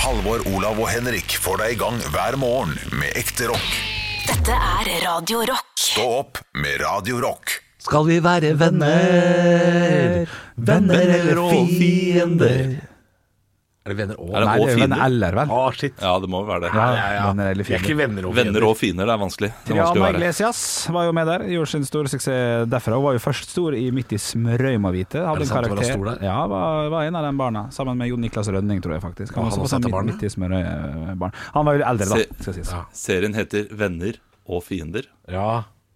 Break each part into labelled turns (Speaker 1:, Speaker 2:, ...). Speaker 1: Halvor, Olav og Henrik får deg i gang hver morgen med ekte rock.
Speaker 2: Dette er Radio Rock.
Speaker 1: Stå opp med Radio Rock.
Speaker 3: Skal vi være venner? Venner eller fiender?
Speaker 4: Er det venner og
Speaker 5: Er det
Speaker 4: Nei,
Speaker 5: og
Speaker 4: det
Speaker 5: fiender?
Speaker 4: venner.
Speaker 5: eller, vel?
Speaker 4: Ah, shit.
Speaker 5: Ja, det må være det.
Speaker 4: Vi
Speaker 3: Venner eller
Speaker 4: er ikke
Speaker 3: fiender?
Speaker 4: venner og
Speaker 5: Venner og fiender, det er vanskelig. Det er vanskelig
Speaker 6: Triana
Speaker 5: å være.
Speaker 6: Iglesias var jo med der. Gjorde sin store suksess derfra. Hun var jo først stor i Midt i smørøymavite.
Speaker 4: Er
Speaker 6: Hadde
Speaker 4: det
Speaker 6: en
Speaker 4: sant hun var
Speaker 6: karakter.
Speaker 4: stor der?
Speaker 6: Ja, var, var en av de barna. Sammen med Jon Niklas Rønning, tror jeg
Speaker 4: Og
Speaker 6: faktisk.
Speaker 4: han
Speaker 6: Han, var
Speaker 4: også
Speaker 6: også
Speaker 4: et
Speaker 6: sånn
Speaker 4: av
Speaker 6: midt,
Speaker 4: barna?
Speaker 6: midt i smørøybarn. eh, Han var jo eldre, da.
Speaker 5: Se-
Speaker 6: Skal sies.
Speaker 5: Serien heter Venner og fiender.
Speaker 4: Ja.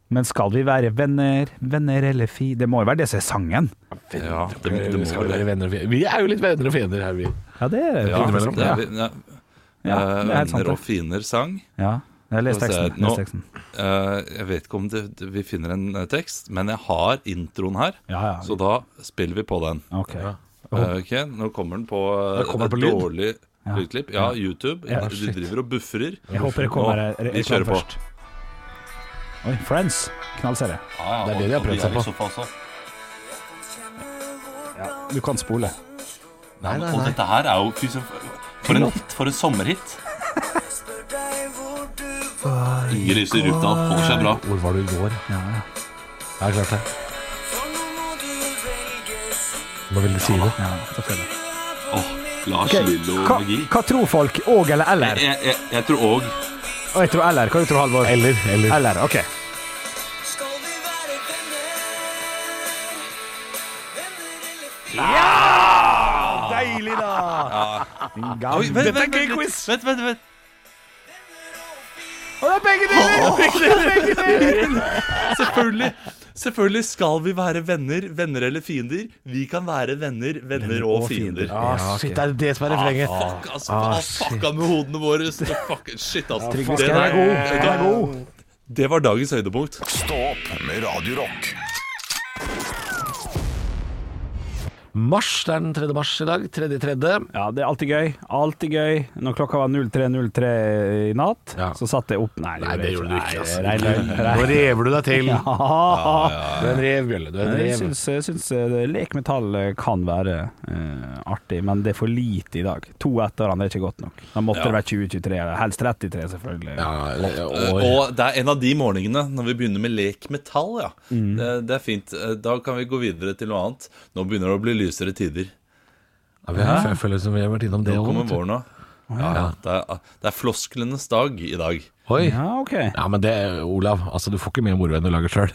Speaker 6: Men skal vi være venner, venner eller fi... Det må jo være det som er sangen.
Speaker 5: Ja, det,
Speaker 4: Vi
Speaker 5: det må
Speaker 4: skal være
Speaker 5: være det.
Speaker 4: venner og fiender. Vi er jo litt venner og fiender her, vi.
Speaker 6: Ja, det er
Speaker 5: Ja,
Speaker 6: faktisk-
Speaker 5: det er, vi- ja. Eh,
Speaker 6: Ja, det er helt sant,
Speaker 5: venner
Speaker 6: det.
Speaker 5: og fiender-sang.
Speaker 6: Ja. Jeg leser
Speaker 5: Skal vi se,
Speaker 6: teksten.
Speaker 5: nå-
Speaker 6: Les teksten.
Speaker 5: Eh, jeg vet ikke om det, det, vi finner en eh, tekst, men jeg har introen her,
Speaker 6: Ja, ja. Oh.
Speaker 5: så da spiller vi på den.
Speaker 6: Ok.
Speaker 5: Eh, ok, Nå kommer den på eh,
Speaker 4: Da kommer
Speaker 5: et
Speaker 4: den på lyd.
Speaker 5: dårlig lydklipp. Ja, YouTube.
Speaker 6: Ja,
Speaker 5: du driver og bufferer.
Speaker 6: Jeg håper det kommer
Speaker 5: Nå,
Speaker 6: re-
Speaker 5: vi kjører
Speaker 6: reklame
Speaker 5: på.
Speaker 6: først. Oi, Friends. Knallserie.
Speaker 4: Det er det
Speaker 5: Ja, Ah, og-
Speaker 4: de har
Speaker 5: og
Speaker 4: prøvd seg
Speaker 5: er i
Speaker 4: på.
Speaker 5: sofa også.
Speaker 6: Du kan spole.
Speaker 4: Nei, nei,
Speaker 5: Og
Speaker 4: nei.
Speaker 5: dette her er jo fy sø- For en hit, for en sommerhit. Inger lyser i ruta, holder seg bra.
Speaker 4: Hvor var du i går?
Speaker 6: Ja, ja.
Speaker 4: Ja, klart det. Nå vil du si det.
Speaker 6: ja selvfølgelig.
Speaker 5: Åh, Lars
Speaker 6: Ok, Hva,
Speaker 5: Lillo-magi.
Speaker 6: hva tror folk? Og eller eller?
Speaker 5: Jeg, jeg, jeg tror òg
Speaker 6: Og jeg tror eller. Hva du tror Halvor?
Speaker 4: Eller, eller.
Speaker 6: Eller, ok. Ja! Deilig, da! Din gamle-
Speaker 5: vent,
Speaker 6: Dette er
Speaker 5: vent,
Speaker 6: gøy
Speaker 5: vent,
Speaker 6: quiz!
Speaker 5: vent, vent, vent.
Speaker 6: Og det er begge deler!
Speaker 5: Selvfølgelig, selvfølgelig skal vi være venner. Venner eller fiender. Vi kan være venner, venner og fiender.
Speaker 4: Ah, shit, det er det som er refrenget.
Speaker 5: Fuck, altså, ah, fucka med hodene våre. Så Fuck, shit, altså.
Speaker 6: Trygve
Speaker 5: Det
Speaker 6: Skau er
Speaker 5: der-
Speaker 6: god.
Speaker 5: vet du hva? Det var dagens høydepunkt.
Speaker 1: Stå opp med Radio Rock.
Speaker 4: Mars, det er den 3. mars i dag. 3.3.
Speaker 6: Ja, det er alltid gøy. Alltid gøy. Når klokka var 03.03 i natt,
Speaker 4: Ja.
Speaker 6: så satt jeg opp Nei,
Speaker 4: Nei, det gjorde du ikke. altså.
Speaker 6: Nei, det er rein løgn.
Speaker 4: Nå rever du deg til.
Speaker 6: Ja.
Speaker 4: Du er en revbjølle. Du er en
Speaker 6: Men Jeg
Speaker 4: rev.
Speaker 6: syns, jeg syns eh, lekmetall eh, kan være eh, artig, men det er for lite i dag. To etter hverandre er ikke godt nok. Da måtte
Speaker 5: Ja.
Speaker 6: det være 2023, eller helst 33, selvfølgelig.
Speaker 4: Ja, eller,
Speaker 5: Eh,
Speaker 4: år.
Speaker 5: Og det er en av de morgenene når vi begynner med lek metall, ja.
Speaker 4: Mm.
Speaker 5: Det, det er fint. Eh, Da kan vi gå videre til noe annet. Nå begynner det å bli lysere tider.
Speaker 4: Ja, vi har, jeg føler som vi har vært innom det
Speaker 5: Nå
Speaker 4: òg.
Speaker 5: kommer våren òg. Ja, ja. Det, er- det er flosklenes dag i dag.
Speaker 4: Oi.
Speaker 6: Ja, ok.
Speaker 4: Ja, men det, Olav, altså du får ikke mer moro enn du lager sjøl.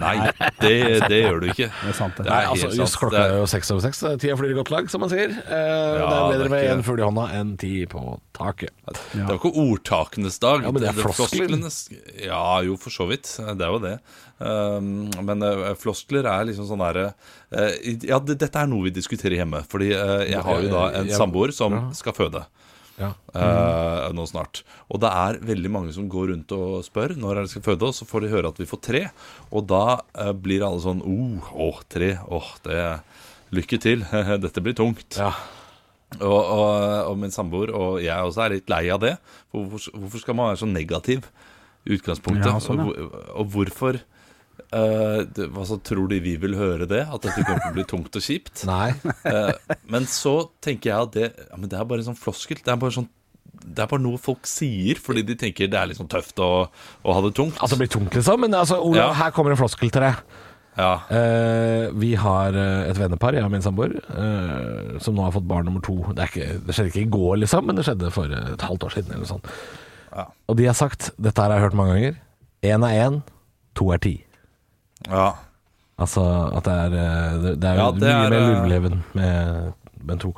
Speaker 5: Nei, det, det gjør du ikke. Det
Speaker 6: er sant, det.
Speaker 5: er helt
Speaker 4: Altså, just
Speaker 5: sant.
Speaker 4: klokka er
Speaker 5: Det er-
Speaker 4: jo seks over seks, så tida flyr i godt lag, som man sier. Eh, det er
Speaker 5: det er
Speaker 4: bedre med
Speaker 5: ikke-
Speaker 4: én fugl i hånda enn ti på taket.
Speaker 5: det er jo ikke ordtakenes dag.
Speaker 4: Ja, men det er floskler.
Speaker 5: flosklenes- Ja, jo, for så vidt. Det er jo det. Um, men eh, floskler er liksom sånn derre eh, Ja, det, dette er noe vi diskuterer hjemme. Fordi eh, jeg har jo da en
Speaker 4: Jeg-
Speaker 5: samboer som skal føde.
Speaker 4: Ja.
Speaker 5: eh, nå snart. Og det er veldig mange som går rundt og spør når de skal føde, og så får de høre at vi får tre. Og da eh, blir alle sånn oh, åh, tre, åh, det Lykke til, dette blir tungt.
Speaker 4: Ja.
Speaker 5: Og, og, og min samboer og jeg også er litt lei av det. For Hvorfor, hvorfor skal man være så negativ i utgangspunktet?
Speaker 6: Ja, sånn, ja.
Speaker 5: og, hvor- og hvorfor eh, det, altså, Tror de vi vil høre det? At dette kommer til å bli tungt og kjipt?
Speaker 4: Nei.
Speaker 5: Eh, men så tenker jeg at det, ja, men det er bare en sånn floskel. Det er bare, sånn, det er bare noe folk sier fordi de tenker det er litt sånn tøft å, å ha det tungt.
Speaker 4: Altså, det blir tungt, liksom. Men altså, Olav,
Speaker 5: Ja.
Speaker 4: her kommer en floskel til deg.
Speaker 5: ja.
Speaker 4: Eh, vi har eh, et vennepar, jeg og min samboer, eh, som nå har fått barn nummer to. Det, er ikke, det skjedde ikke i går, liksom, men det skjedde for et halvt år siden. Eller noe sånt. Og de har sagt Dette her har jeg hørt mange ganger. Én er én, to er ti.
Speaker 5: ja.
Speaker 4: Altså at det er eh, Det, det er
Speaker 5: Ja, det
Speaker 4: mye
Speaker 5: er,
Speaker 4: mer
Speaker 5: eh,
Speaker 4: lureleven med, med to.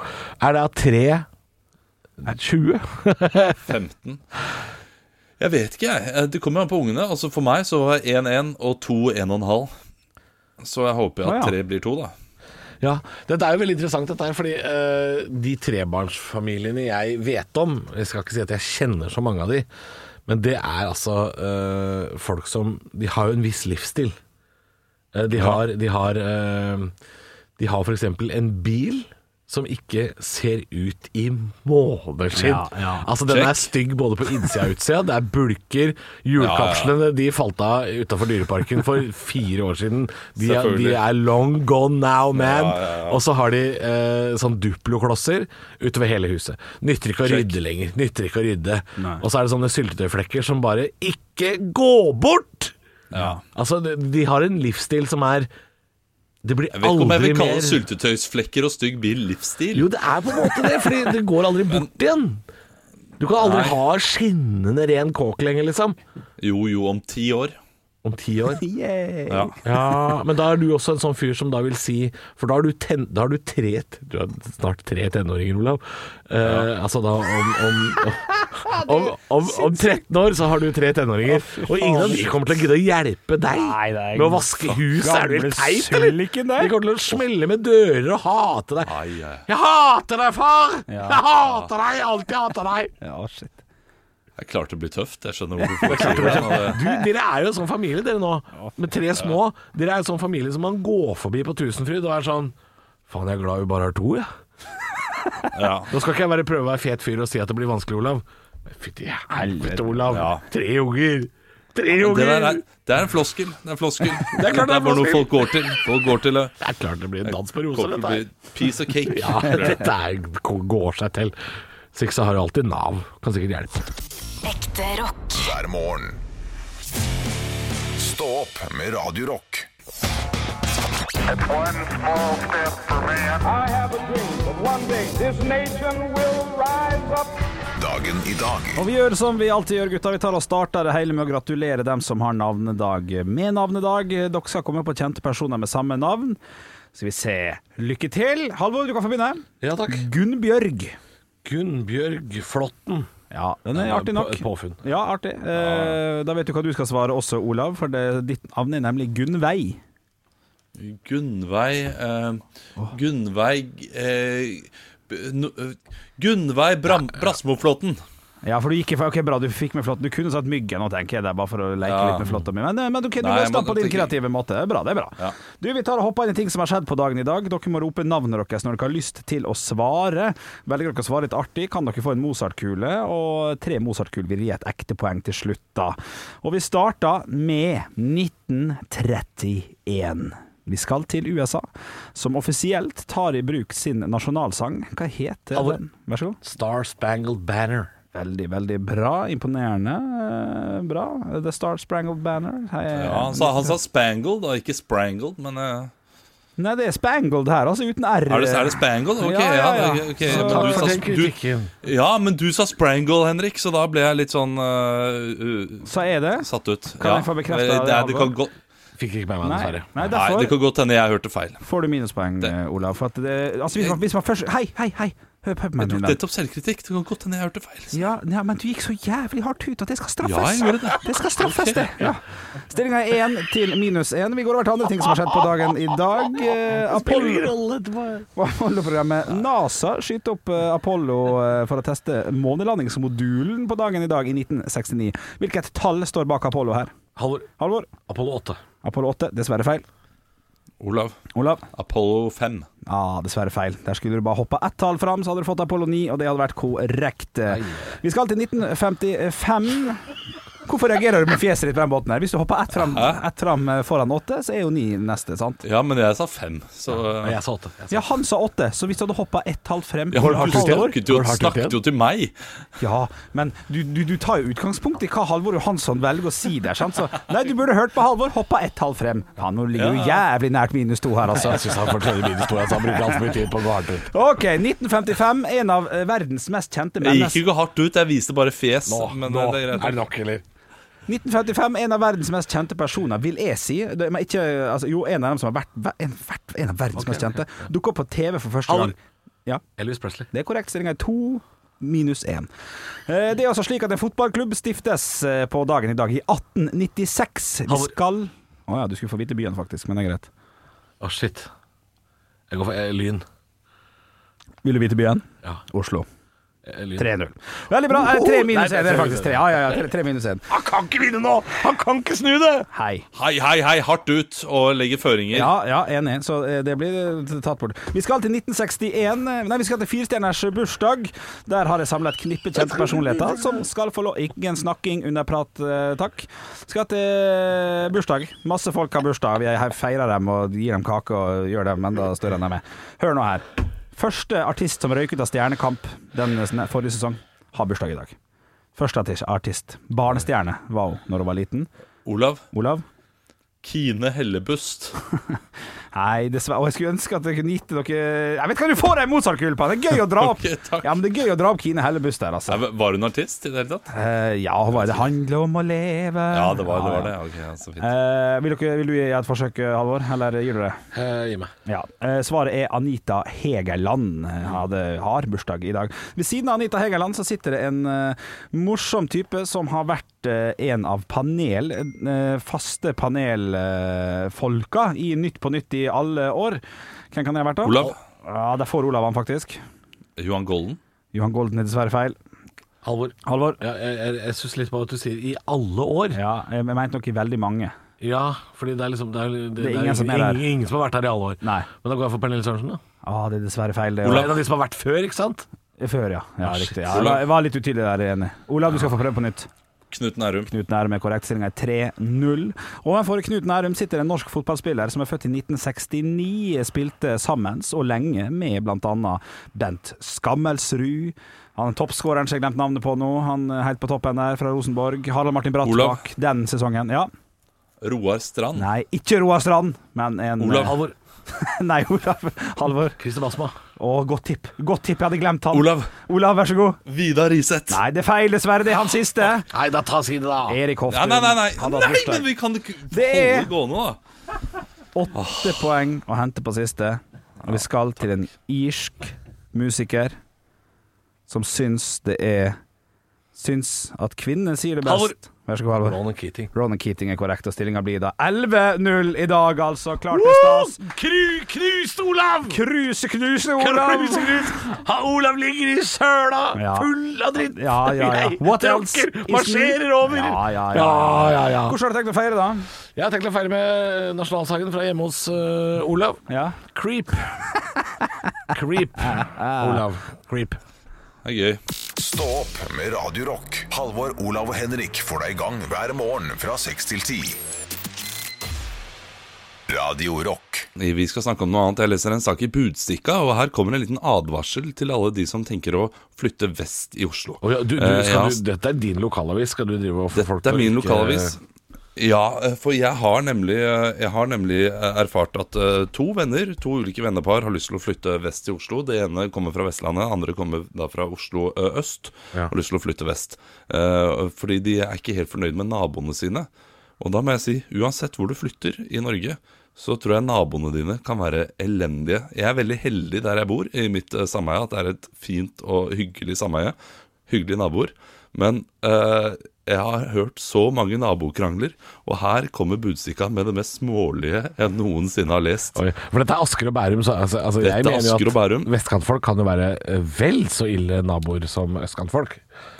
Speaker 4: Er det at tre er 20?
Speaker 5: 15. Jeg vet ikke, jeg. Eh, Det kommer jo an på ungene. Altså For meg så var 1-1 og 2 1,5. Så jeg håper
Speaker 6: Å,
Speaker 5: at
Speaker 6: ja.
Speaker 5: 3 blir 2, da.
Speaker 4: Ja, Dette er jo veldig interessant, dette her, fordi eh, de trebarnsfamiliene jeg vet om Jeg skal ikke si at jeg kjenner så mange av de, men det er altså eh, folk som De har jo en viss livsstil. Eh, de har, de har, eh, de har f.eks. en bil som ikke ser ut i måneskinn.
Speaker 6: Ja, ja.
Speaker 4: Altså, den
Speaker 5: Check.
Speaker 4: er stygg både på innsida og utsida. Det er bulker. Hjulkapslene de falt av utafor Dyreparken for fire år siden. De er, de
Speaker 5: Selvfølgelig.
Speaker 4: er long gone now, man.
Speaker 5: Ja, ja, ja.
Speaker 4: Og så har de eh, sånn Duplo-klosser utover hele huset. Nytter ikke å rydde lenger. Nytter ikke å rydde.
Speaker 6: Nei.
Speaker 4: Og så er det sånne syltetøyflekker som bare ikke går bort! Altså, de, de har en livsstil som er Det blir
Speaker 5: Jeg vet ikke om jeg
Speaker 4: aldri
Speaker 5: vil kalle
Speaker 4: mer
Speaker 5: syltetøysflekker og stygg bil livsstil.
Speaker 4: jo, det er på en måte det, fordi det går aldri bort igjen. Du kan aldri ha skinnende ren kåk lenger, liksom.
Speaker 5: Jo, jo, om ti år.
Speaker 4: Om ti år.
Speaker 6: Yay.
Speaker 5: Ja.
Speaker 4: Ja, men da er du også en sånn fyr som da vil si For da har du, ten, da har du tre Du har snart tre tenåringer, Olav. Eh, Altså da om om, om, om om 13 år så har du tre tenåringer, og ingen av de kommer til å gidde å hjelpe deg
Speaker 6: Nei, det er
Speaker 4: med å vaske hus. Er du
Speaker 6: gamle
Speaker 4: helt teit, eller?
Speaker 6: sulken der.
Speaker 4: De kommer til å smelle med dører og hate deg.
Speaker 5: Ai, ai.
Speaker 4: Jeg hater deg, far!
Speaker 6: Ja.
Speaker 4: Jeg hater deg! Alltid hater deg!
Speaker 6: Ja, shit.
Speaker 5: Jeg klarte å bli tøft. Jeg skjønner hvorfor folk sier det. men det-
Speaker 4: Du, dere er jo en sånn familie, dere nå. Med tre små. Dere er en sånn familie som man går forbi på Tusenfryd og er sånn Faen, jeg er glad vi bare har to, jeg.
Speaker 5: Ja.
Speaker 4: Nå skal ikke jeg bare prøve å være fet fyr og si at det blir vanskelig, Olav. Men Fytti helvete, Olav.
Speaker 5: Ja.
Speaker 4: Tre unger. Tre
Speaker 5: Det,
Speaker 4: unger.
Speaker 5: der er, det er en floskel. Det er en floskel. Det
Speaker 4: er klart det er
Speaker 5: bare noe
Speaker 4: floskel.
Speaker 5: folk går til. Folk går til det.
Speaker 4: Det er klart det blir en dans på roser,
Speaker 5: Kommer til å
Speaker 4: dette her.
Speaker 5: bli piece of cake.
Speaker 4: Ja, dette er, går seg til. Så ikke så har du alltid Nav. Kan sikkert hjelpe.
Speaker 2: Ekte rock.
Speaker 1: hver morgen. Stå opp med Radio Rock.
Speaker 7: One small step for man. I have a dream that one day this nation will rise up.
Speaker 1: Dagen i dag
Speaker 6: Og vi gjør som vi alltid gjør, gutta. Vi tar og starter det hele med å gratulere dem som har navnedag med navnedag. Dere skal komme på kjente personer med samme navn. Skal vi se. Lykke til. Halvor, du kan få begynne.
Speaker 4: Ja takk.
Speaker 6: Gunnbjørg.
Speaker 4: Gunnbjørg Flåtten.
Speaker 6: Ja, den er artig nok.
Speaker 4: Et påfunn.
Speaker 6: Ja, artig. Eh, da vet du hva du skal svare også, Olav, for det, ditt navn er nemlig Gunnvei.
Speaker 5: Gunnveig eh, Gunnveig eh, b- no, eh, Gunnveig Bram- Brasmoflåten.
Speaker 6: Ja, for du gikk i Ok, bra, du fikk med flått. Du kunne sagt Myggen nå, tenker jeg. Det er bare for å leke
Speaker 5: Ja.
Speaker 6: litt med flåtta mi. Men, eh, men ok, du
Speaker 5: Nei,
Speaker 6: løste
Speaker 5: men
Speaker 6: det på
Speaker 5: det tenker
Speaker 6: din
Speaker 5: jeg.
Speaker 6: kreative måte. Det er bra, det er bra.
Speaker 5: Ja.
Speaker 6: Du, Vi tar og hopper inn i ting som har skjedd på dagen i dag. Dere må rope navnet deres når dere har lyst til å svare. Velger dere å svare litt artig, kan dere få en Mozart-kule. Og tre Mozart-kuler vil gi et ekte poeng til slutt, da. Og vi starter med 1931. Vi skal til USA, som offisielt tar i bruk sin nasjonalsang. Hva heter
Speaker 4: Halvor.
Speaker 6: den? Vær så god.
Speaker 4: Star Spangled Banner.
Speaker 6: Veldig, veldig bra. Imponerende eh, bra. The Star Sprangled Banner. Hei,
Speaker 5: Ja, han sa, han sa spangled, da, ikke sprangled, men eh,
Speaker 6: Nei, det er Spangled her, altså uten R.
Speaker 5: er, det, er det spangled? Ok,
Speaker 6: Ja, ja, ja.
Speaker 5: ok, ok,
Speaker 6: Så-
Speaker 5: men
Speaker 4: Takk
Speaker 5: du
Speaker 4: for
Speaker 5: sa,
Speaker 4: den
Speaker 5: du,
Speaker 4: kritikken.
Speaker 5: ja, men du sa sprangle, Henrik, så da ble jeg litt sånn eh, uh,
Speaker 6: Så er det?
Speaker 5: satt ut.
Speaker 6: Kan jeg få bekreftet
Speaker 5: det, det,
Speaker 6: det,
Speaker 5: det, kan
Speaker 6: Halvor?
Speaker 5: godt,
Speaker 4: Fikk ikke med meg,
Speaker 6: Nei,
Speaker 4: dessverre.
Speaker 6: nei
Speaker 5: nei,
Speaker 6: derfor
Speaker 5: det kan godt hende jeg hørte feil.
Speaker 6: får du minuspoeng,
Speaker 5: Det-
Speaker 6: eh, Olav. For at det, altså, hvis, man, hvis man først Hei, hei, hei! Hør hør på
Speaker 5: Jeg
Speaker 6: meg.
Speaker 5: tok
Speaker 6: Olav.
Speaker 5: nettopp selvkritikk. Det kan godt hende jeg hørte feil.
Speaker 6: Ja, ja, men du gikk så jævlig hardt ut at det skal straffes.
Speaker 5: Ja, jeg gjorde det.
Speaker 6: skal straffes, det. Ja. Stillinga er én til minus én. Vi går over til andre ting som har skjedd på dagen i dag. Eh, Apollo Apollo-programmet NASA skyter opp eh, Apollo eh, for å teste månelandingsmodulen på dagen i dag i 1969. Hvilket tall står bak Apollo her?
Speaker 4: Halvor,
Speaker 6: Halvor?
Speaker 4: Apollo 8.
Speaker 6: Apollo 8, dessverre feil.
Speaker 5: Olav.
Speaker 6: Olav?
Speaker 5: Apollo 5.
Speaker 6: Ah, dessverre feil. Der skulle du bare hoppa ett tall fram, så hadde du fått Apollo 9, og det hadde vært korrekt. Vi skal til 1955. Hvorfor reagerer du med fjeset ditt på den båten her? Hvis du hopper ett fram,
Speaker 5: Hæ?
Speaker 6: ett fram eh, foran åtte, så er jo ni neste, sant?
Speaker 5: Ja, men jeg sa 5, så eh,
Speaker 4: Nei, jeg sa 8. Jeg sa.
Speaker 6: Ja, han sa åtte, så hvis du hadde hoppa ett tall frem
Speaker 5: Ja, men
Speaker 6: Halvor-
Speaker 5: du snakket jo,
Speaker 4: Går hardt ut igjen.
Speaker 5: snakket jo til meg.
Speaker 6: Ja, men du, du, du tar jo utgangspunkt i hva Halvor Johansson velger å si der. Sant? Så, nei, du burde hørt på Halvor. Hoppa ett tall frem. Han nå ligger jo jævlig nært minus to her, altså.
Speaker 4: Jeg syns han fortjener minus 2. Han bruker altfor mye tid på å gå hardt ut.
Speaker 6: OK, 1955. En av eh, verdens mest kjente
Speaker 5: Jeg gikk jo
Speaker 6: mennesker
Speaker 5: ikke hardt ut, jeg viste bare fjes.
Speaker 4: Nå,
Speaker 5: men
Speaker 4: nå
Speaker 5: det er greit.
Speaker 4: det nok, eller?
Speaker 6: 1955, en av verdens mest kjente personer, vil jeg si. Det, men ikke, altså, jo, en av dem som har vært ver- en, vært- en av verdens mest kjente. Dukket opp på TV for første
Speaker 4: Halvor.
Speaker 6: gang. Ja.
Speaker 4: Elvis Presley.
Speaker 6: Det er korrekt. Stillinga er to minus én. Eh, Det er altså slik at en fotballklubb stiftes eh, på dagen i dag i 1896. Vi
Speaker 4: Halvor.
Speaker 6: skal Å ja, du skulle få vite byen, faktisk, men det er greit.
Speaker 4: Å, shit. Jeg går for eh, Lyn.
Speaker 6: Vil du vite byen?
Speaker 4: Ja.
Speaker 6: Oslo.
Speaker 4: Eh, lyd.
Speaker 6: 3-0. Veldig bra. Eh,
Speaker 5: Oh,
Speaker 6: Tre minus én, det er faktisk tre. Ja, ja, ja. Tre, tre minus én.
Speaker 5: Han kan ikke vinne nå! Han kan ikke snu det!
Speaker 6: Hei.
Speaker 5: Hei, hei, hei, hardt ut og legge føringer.
Speaker 6: Ja, ja, enig. Så eh, det blir eh, tatt bort. Vi skal til 1961. eh, Nei, vi skal til firestjerners bursdag. Der har jeg samla et knippe kjente personligheter som skal få lov Ingen snakking under prat, eh, takk. Skal til eh, bursdag. Masse folk har bursdag. Vi her feirer dem og gir dem kake og gjør dem enda større enn de er. Hør nå her. Første artist som røyk ut av Stjernekamp den eh, sne- forrige sesong, har bursdag i dag. Første artist- artist. Barnestjerne var hun når hun var liten.
Speaker 5: Olav,
Speaker 6: Olav?
Speaker 5: Kine Hellebust.
Speaker 6: Nei, dessverre. Og jeg skulle ønske at jeg kunne gitt dere Jeg vet hva du får deg en Mozart-kule på! Det er gøy å dra opp
Speaker 5: Ok, takk.
Speaker 6: Ja, men det er gøy å dra opp Kine Hellebust der, altså.
Speaker 5: Nei, Var hun artist i det hele tatt?
Speaker 6: Eh, ja, hva er det handler om å leve
Speaker 5: Ja, det var det. Var det.
Speaker 6: Ja, ja.
Speaker 5: Ok, ja, så fint.
Speaker 6: Eh, vil, dere, vil du gi et forsøk, Halvor? Eller gir du det?
Speaker 4: Eh, gi meg.
Speaker 6: Ja. Eh, svaret er Anita Hegerland. eh, Hadde, har bursdag i dag. Ved siden av Anita Hegerland så sitter det en eh, morsom type som har vært eh, en av panel, eh, faste panelfolka i Nytt på nytt i alle år. Hvem kan det ha vært da?
Speaker 5: Olav.
Speaker 6: Ja, der får Olav han faktisk.
Speaker 5: Johan Golden.
Speaker 6: Johan Golden er dessverre feil.
Speaker 4: Halvor.
Speaker 6: Halvor?
Speaker 4: Ja, jeg jeg, jeg stusser litt på at du sier 'i alle år'. Ja,
Speaker 6: Ja, jeg mente nok i veldig mange.
Speaker 4: fordi det er liksom Det er, det,
Speaker 6: er ingen som er
Speaker 4: ingen,
Speaker 6: der.
Speaker 4: ingen som har vært her i alle år.
Speaker 6: Nei.
Speaker 4: Men da går jeg for Pernille Sørensen, da.
Speaker 6: Ah, det er dessverre feil, det.
Speaker 4: Hun er
Speaker 6: Olav.
Speaker 4: en av de som har vært før, ikke sant?
Speaker 6: Før, ja.
Speaker 5: Ah,
Speaker 6: ja riktig. Ja,
Speaker 5: Olav.
Speaker 6: jeg var litt utydelig der, jeg er enig. Olav, du skal få prøve på nytt.
Speaker 5: Knut Nærum.
Speaker 6: Knut Nærum er korrekt. Stillinga er 3-0. Ovenfor Knut Nærum sitter en norsk fotballspiller som er født i 1969. Spilte sammen og lenge med bl.a. Bent Skammelsrud. Han er toppskåreren som jeg glemte navnet på nå. Han er helt på toppen der fra Rosenborg. Harald Martin
Speaker 5: Olav.
Speaker 6: Brattbakk den sesongen. Ja.
Speaker 5: Roar Strand.
Speaker 6: Nei, ikke Roar Strand, men en
Speaker 5: Olav.
Speaker 4: Halvor.
Speaker 6: Nei, Olav Halvor.
Speaker 4: Christer Basma.
Speaker 6: Å, godt tipp. Godt tipp, jeg hadde glemt han.
Speaker 5: Olav.
Speaker 6: Olav, vær så god.
Speaker 5: Vidar Riseth.
Speaker 6: Nei, det er feil, dessverre. Det er han siste.
Speaker 4: Nei, da ta side, da.
Speaker 6: Erik Hoftun.
Speaker 5: Nei, nei, nei, nei.
Speaker 6: Han har hatt
Speaker 5: nei
Speaker 6: bursdag.
Speaker 5: men vi kan ikke holde
Speaker 6: Det er-
Speaker 5: det gående, da.
Speaker 6: Åtte poeng å hente på siste. Og vi skal til en irsk musiker som syns det er Syns at kvinnene sier det best. Vær så god, Halvor.
Speaker 4: Ronan Keating.
Speaker 6: Ronan Keating er korrekt, og stillinga blir da 11-0 i dag, altså. Klart til stas.
Speaker 4: Kru, knust Olav!
Speaker 6: Kruseknusende Olav!
Speaker 4: Ha, Olav ligger i søla,
Speaker 6: Ja.
Speaker 4: full av dritt.
Speaker 6: Ja, ja, ja.
Speaker 4: Jeg
Speaker 6: What else?
Speaker 4: tråkker,
Speaker 6: is new?
Speaker 4: marsjerer over.
Speaker 6: Ja, ja, ja.
Speaker 4: Ja, ja, ja.
Speaker 6: Hvordan har du tenkt å feire, da?
Speaker 4: Jeg har tenkt å feire med nasjonalsangen fra hjemme hos eh, Olav.
Speaker 6: Ja.
Speaker 4: Creep. Creep. Olav. Creep.
Speaker 5: Det er gøy.
Speaker 1: Stå opp med Radio Rock. Halvor, Olav og Henrik får deg i gang hver morgen fra 6 til 10. Radio Rock.
Speaker 5: Eh, Vi skal snakke om noe annet. Jeg leser en sak i Budstikka, og her kommer en liten advarsel til alle de som tenker å flytte vest i Oslo.
Speaker 4: Å ja, du, du,
Speaker 5: Eh,
Speaker 4: skal
Speaker 5: ja,
Speaker 4: du, dette er din lokalavis. Skal du drive og få folk
Speaker 5: Dette er
Speaker 4: til å
Speaker 5: min
Speaker 4: ikke-
Speaker 5: lokalavis. Ja, eh, for jeg har nemlig, eh, jeg har nemlig eh, erfart at eh, to venner, to ulike vennepar, har lyst til å flytte vest til Oslo. Det ene kommer fra Vestlandet, det andre kommer da fra Oslo eh, øst. Har lyst til å flytte vest. Eh, Fordi de er ikke helt fornøyd med naboene sine. Og da må jeg si, uansett hvor du flytter i Norge, så tror jeg naboene dine kan være elendige. Jeg er veldig heldig der jeg bor, i mitt eh, sameie, at det er et fint og hyggelig sameie. Hyggelige naboer. Men eh, jeg har hørt så mange nabokrangler, og her kommer Budstikka med det mest smålige jeg noensinne har lest.
Speaker 4: Oi, For dette er Asker og Bærum, så altså, altså,
Speaker 5: Dette er
Speaker 4: jeg mener jo
Speaker 5: Asker og
Speaker 4: at
Speaker 5: Bærum.
Speaker 4: vestkantfolk kan jo være eh, vel så ille naboer som østkantfolk.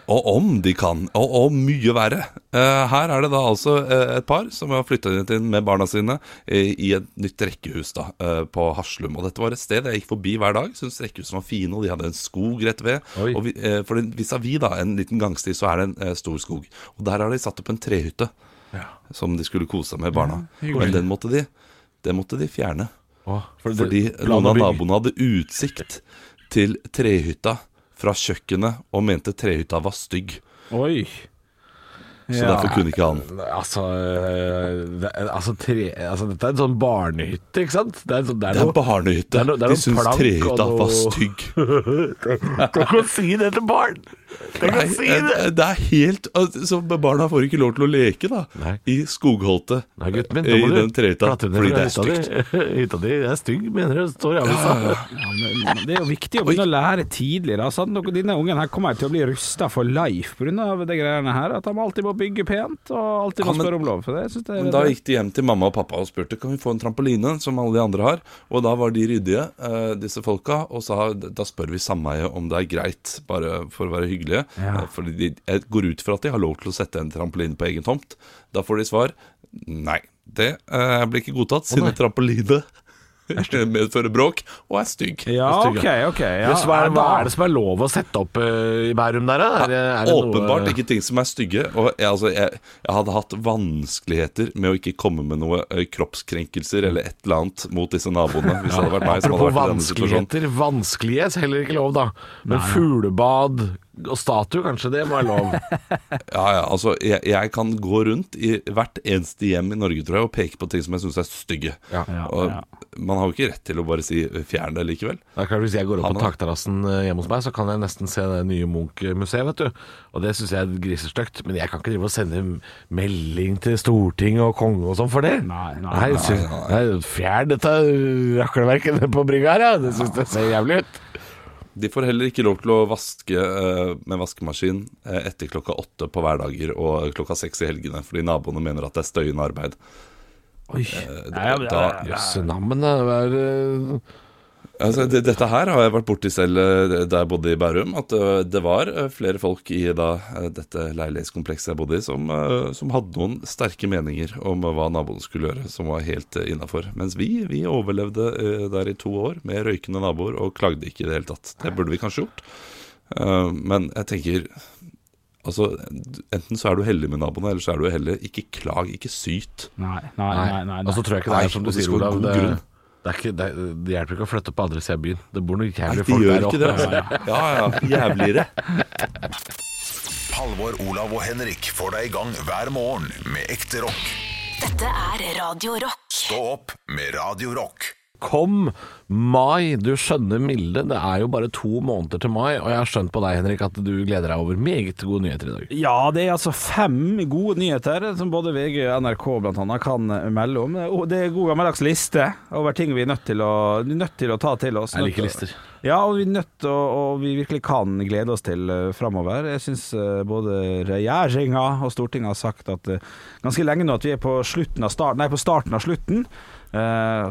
Speaker 5: Og om de kan, og, og mye verre. Eh, her er det da altså eh, et par som har flytta inn med barna sine eh, i et nytt rekkehus da, eh, på Haslum. Og dette var et sted jeg gikk forbi hver dag. Syntes rekkehusene var fine, og de hadde en skog rett ved.
Speaker 4: Oi.
Speaker 5: Og vi, eh, for den- vis-à-vis da, en liten gangsti, så er det en eh, stor skog. Og der har de satt opp en trehytte som de skulle kose seg med barna. Men den måtte de, den måtte de fjerne.
Speaker 4: for det-
Speaker 5: Fordi
Speaker 4: plan
Speaker 5: noen
Speaker 4: og
Speaker 5: av
Speaker 4: bygg.
Speaker 5: naboene hadde utsikt til trehytta fra kjøkkenet og mente trehytta var stygg.
Speaker 4: Oi.
Speaker 5: Så derfor kunne ikke han.
Speaker 4: Altså, eh, det, er- altså, tre, altså Dette er en sånn barnehytte, ikke sant? Det er, sånn- det er
Speaker 5: Det er
Speaker 4: noe-
Speaker 5: barnehytte.
Speaker 4: det er noe- det er
Speaker 5: De
Speaker 4: noe
Speaker 5: syns
Speaker 4: plank og
Speaker 5: trehytta
Speaker 4: noe-
Speaker 5: var stygg.
Speaker 4: Du kan ikke si det til barn!
Speaker 5: Nei, eh, det er helt altså, Så barna får ikke lov til å leke, da.
Speaker 4: Nei.
Speaker 5: I skogholtet.
Speaker 4: Nei, gutten min,
Speaker 5: I den trehytta.
Speaker 4: klatre ned
Speaker 5: Fordi det er
Speaker 4: fra hytta
Speaker 5: stygt.
Speaker 4: di. Hytta di er stygg, mener du? Står i avisa.
Speaker 6: Ja, men det er jo viktig å begynne å lære tidlig. Da. Sant? Dere- Denne ungen her kommer til å bli rusta for life pga. de greiene her. At de alltid må bygge pent, og alltid må
Speaker 5: Ja, men-
Speaker 6: spørre om lov. For det, jeg synes det,
Speaker 5: Men
Speaker 6: er-
Speaker 5: da gikk de hjem til mamma og pappa og spurte Kan vi få en trampoline som alle de andre har. Og da var de ryddige, eh, disse folka, og sa da spør vi sameiet om det er greit, bare for å være hyggelige. Eh, Fordi de, jeg går ut fra at de har lov til å sette en trampoline på egen tomt. Da får de svar nei. Det eh, blir ikke godtatt, siden en trampoline medfører bråk og er stygg.
Speaker 6: ja,
Speaker 4: stygge.
Speaker 6: OK, OK. Ja,
Speaker 4: Hvis hva, er,
Speaker 6: ja,
Speaker 4: hva
Speaker 6: da-
Speaker 4: er det som er lov å sette opp eh, i Bærum der, da? Er, det- er det noe-
Speaker 5: Åpenbart ikke ting som er stygge. Og jeg, altså, jeg, jeg hadde hatt vanskeligheter med å ikke komme med noe eh, kroppskrenkelser eller et eller annet mot disse naboene. Hvis det hadde vært meg som hadde
Speaker 4: Apropos
Speaker 5: vært i denne situasjonen.
Speaker 4: vanskeligheter. Vanskelige er heller ikke lov, da. Men fuglebad og statue, kanskje det må være lov.
Speaker 5: Ja, ja, altså, jeg, jeg kan gå rundt i hvert eneste hjem i Norge tror jeg, og peke på ting som jeg syns er stygge. og Man har jo ikke rett til å bare si eh, 'fjern det' likevel.
Speaker 4: Det er klart Hvis jeg går opp
Speaker 5: Han
Speaker 4: på
Speaker 5: har-
Speaker 4: takterrassen eh, hjemme hos meg, så kan jeg nesten se det nye Munch-museet, vet du. Og det syns jeg er grisestygt. Men jeg kan ikke drive og sende melding til Stortinget og konge og sånn for det.
Speaker 6: Nei, nei,
Speaker 4: jeg synes- nei, Fjern dette rakleverket nede på brygga her, ja. Det syns jeg ser jævlig ut.
Speaker 5: De får heller ikke lov til å vaske eh, med vaskemaskin eh, etter klokka åtte på hverdager og klokka seks i helgene, fordi naboene mener at det er støyende arbeid. Eh, det- da-
Speaker 4: Jøssenammen, det er eh,
Speaker 5: Altså, det, dette her har jeg vært borti selv eh, da jeg bodde i Bærum. At eh, det var eh, flere folk i da, eh, dette leilighetskomplekset jeg bodde i, som, eh, som hadde noen sterke meninger om hva naboene skulle gjøre, som var helt eh, innafor. Mens vi vi overlevde eh, der i to år med røykende naboer og klagde ikke i det hele tatt. Det burde vi kanskje gjort. Eh, Men jeg tenker Altså, Enten så er du heldig med naboene, eller så er du uheldig. Ikke klag, ikke syt.
Speaker 6: Nei, nei,
Speaker 4: Nei.
Speaker 6: nei. nei,
Speaker 4: Og så
Speaker 6: nei.
Speaker 4: tror jeg ikke det
Speaker 5: Nei,
Speaker 4: er som
Speaker 5: og
Speaker 4: du
Speaker 5: det
Speaker 4: sier,
Speaker 5: skal være
Speaker 4: Olav.
Speaker 5: god
Speaker 4: Det,
Speaker 5: grunn.
Speaker 4: det, er ikke, det, det hjelper ikke å flytte på andre sida av byen. Det bor noen
Speaker 5: Nei,
Speaker 4: jævlige
Speaker 5: de
Speaker 4: folk
Speaker 5: gjør
Speaker 4: der
Speaker 5: ikke det.
Speaker 4: oppe.
Speaker 5: Altså. Ja, ja, Jævligere.
Speaker 1: Halvor, Olav og Henrik får deg i gang hver morgen med ekte rock.
Speaker 2: Dette er Radio Rock.
Speaker 1: Stå opp med Radio Rock.
Speaker 4: Kom mai, du skjønne milde. Det er jo bare to måneder til mai, og jeg har skjønt på deg, Henrik, at du gleder deg over meget gode nyheter i dag.
Speaker 6: Ja, det er altså fem gode nyheter som både VG og NRK blant annet kan melde om. Og Det er god gammeldags liste over ting vi er nødt til å, nødt til å ta til oss.
Speaker 4: Jeg
Speaker 6: Nødt
Speaker 4: liker
Speaker 6: til-
Speaker 4: lister.
Speaker 6: Ja, og vi er nødt til å- og vi virkelig kan glede oss til uh, framover. Jeg syns eh, både regjeringa og Stortinget har sagt at uh, ganske lenge nå at vi er på, slutten av start, nei, på starten av slutten. Uh,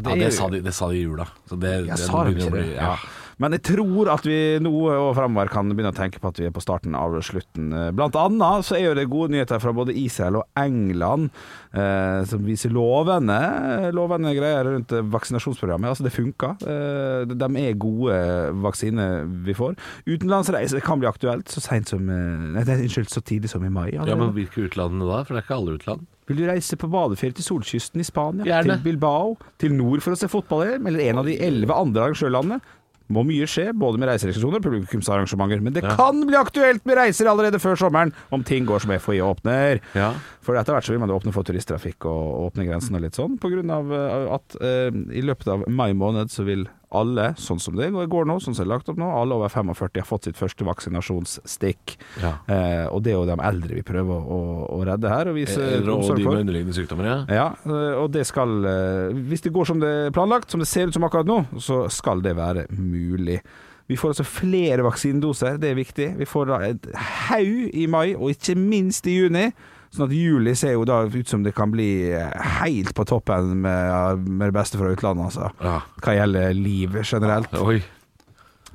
Speaker 4: Ja,
Speaker 6: er-
Speaker 4: det sa de, det sa de i jula. Så det,
Speaker 6: jeg
Speaker 4: det
Speaker 6: sa jo
Speaker 4: begynner
Speaker 6: ikke
Speaker 4: å
Speaker 6: det.
Speaker 4: bli-
Speaker 6: Ja.
Speaker 4: ja.
Speaker 6: Men jeg tror at vi nå og framover kan begynne å tenke på at vi er på starten av slutten. Blant annet så er jo det gode nyheter fra både Israel og England eh, som viser lovende, lovende greier rundt vaksinasjonsprogrammet. Altså, det funker. Eh, de er gode vaksiner vi får. Utenlandsreise kan bli aktuelt så sent som eh, Nei, det er- unnskyld, så tidlig som i mai.
Speaker 4: ja,
Speaker 6: allerede.
Speaker 4: men hvilke utland da? For det er ikke alle utland.
Speaker 6: Vil du reise på badeferie til solkysten i Spania,
Speaker 4: Gjerne.
Speaker 6: til Bilbao, til nord for å se fotball-EM, eller en av de elleve andre arrangørlandene? Må mye skje, både med reiserestriksjoner og publikumsarrangementer, men det kan bli aktuelt med reiser allerede før sommeren, om ting går som FHI åpner.
Speaker 4: Ja.
Speaker 6: For etter hvert så vil man jo åpne for turisttrafikk og åpne grensen og litt sånn, på grunn av eh, at eh, i løpet av mai måned så vil alle, sånn som det går nå, sånn som det er lagt opp nå, alle over 45 har fått sitt første vaksinasjonsstikk.
Speaker 4: Ja.
Speaker 6: Eh, og det er jo de eldre vi prøver å, å, å redde her. Og vise
Speaker 4: Eh, Og
Speaker 6: omsorg
Speaker 4: de
Speaker 6: for.
Speaker 4: med underliggende sykdommer, ja.
Speaker 6: Ja, øh, og det skal øh, Hvis det går som det er planlagt, som det ser ut som akkurat nå, så skal det være mulig. Vi får altså flere vaksinedoser, det er viktig. Vi får da et haug i mai, og ikke minst i juni. Sånn at juli ser jo da ut som det kan bli eh, helt på toppen med, med det beste fra utlandet, altså.
Speaker 4: Ja.
Speaker 6: Hva gjelder liv generelt.
Speaker 4: Oi.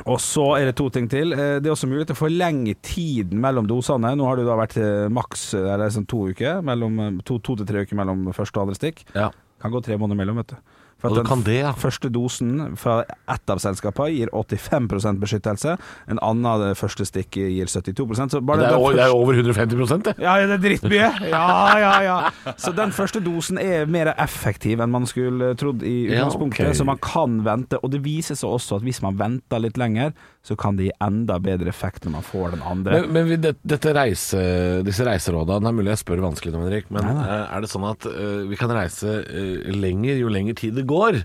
Speaker 6: Og så er det to ting til. Eh, Det er også mulig til å forlenge tiden mellom dosene. Nå har det jo da vært eh, maks eh, eller sånn to uker, mellom, eh, to, to til tre uker mellom første og andre stikk.
Speaker 4: Ja.
Speaker 6: Kan gå tre måneder mellom, vet du. For
Speaker 4: Og du kan det, ja.
Speaker 6: første dosen fra ett av selskapene gir 85 beskyttelse. En annen av det første stikk gir 72 så bare
Speaker 4: Det er,
Speaker 6: den
Speaker 4: jo-
Speaker 6: første-
Speaker 4: det er jo over 150 det.
Speaker 6: ja, ja, det er drittmye. Ja, ja, ja. Så den første dosen er mer effektiv enn man skulle eh, trodd i
Speaker 4: Ja,
Speaker 6: utgangspunktet,
Speaker 4: ok.
Speaker 6: så man kan vente. Og det viser seg også at hvis man venter litt lenger, så kan det gi enda bedre effekt når man får den andre.
Speaker 4: Men, men vi- det, dette reise, disse reiserådene Det er mulig jeg spør vanskelig nå, Henrik, men eh, er det sånn at eh, vi kan reise eh, lenger jo lenger tid det går? det,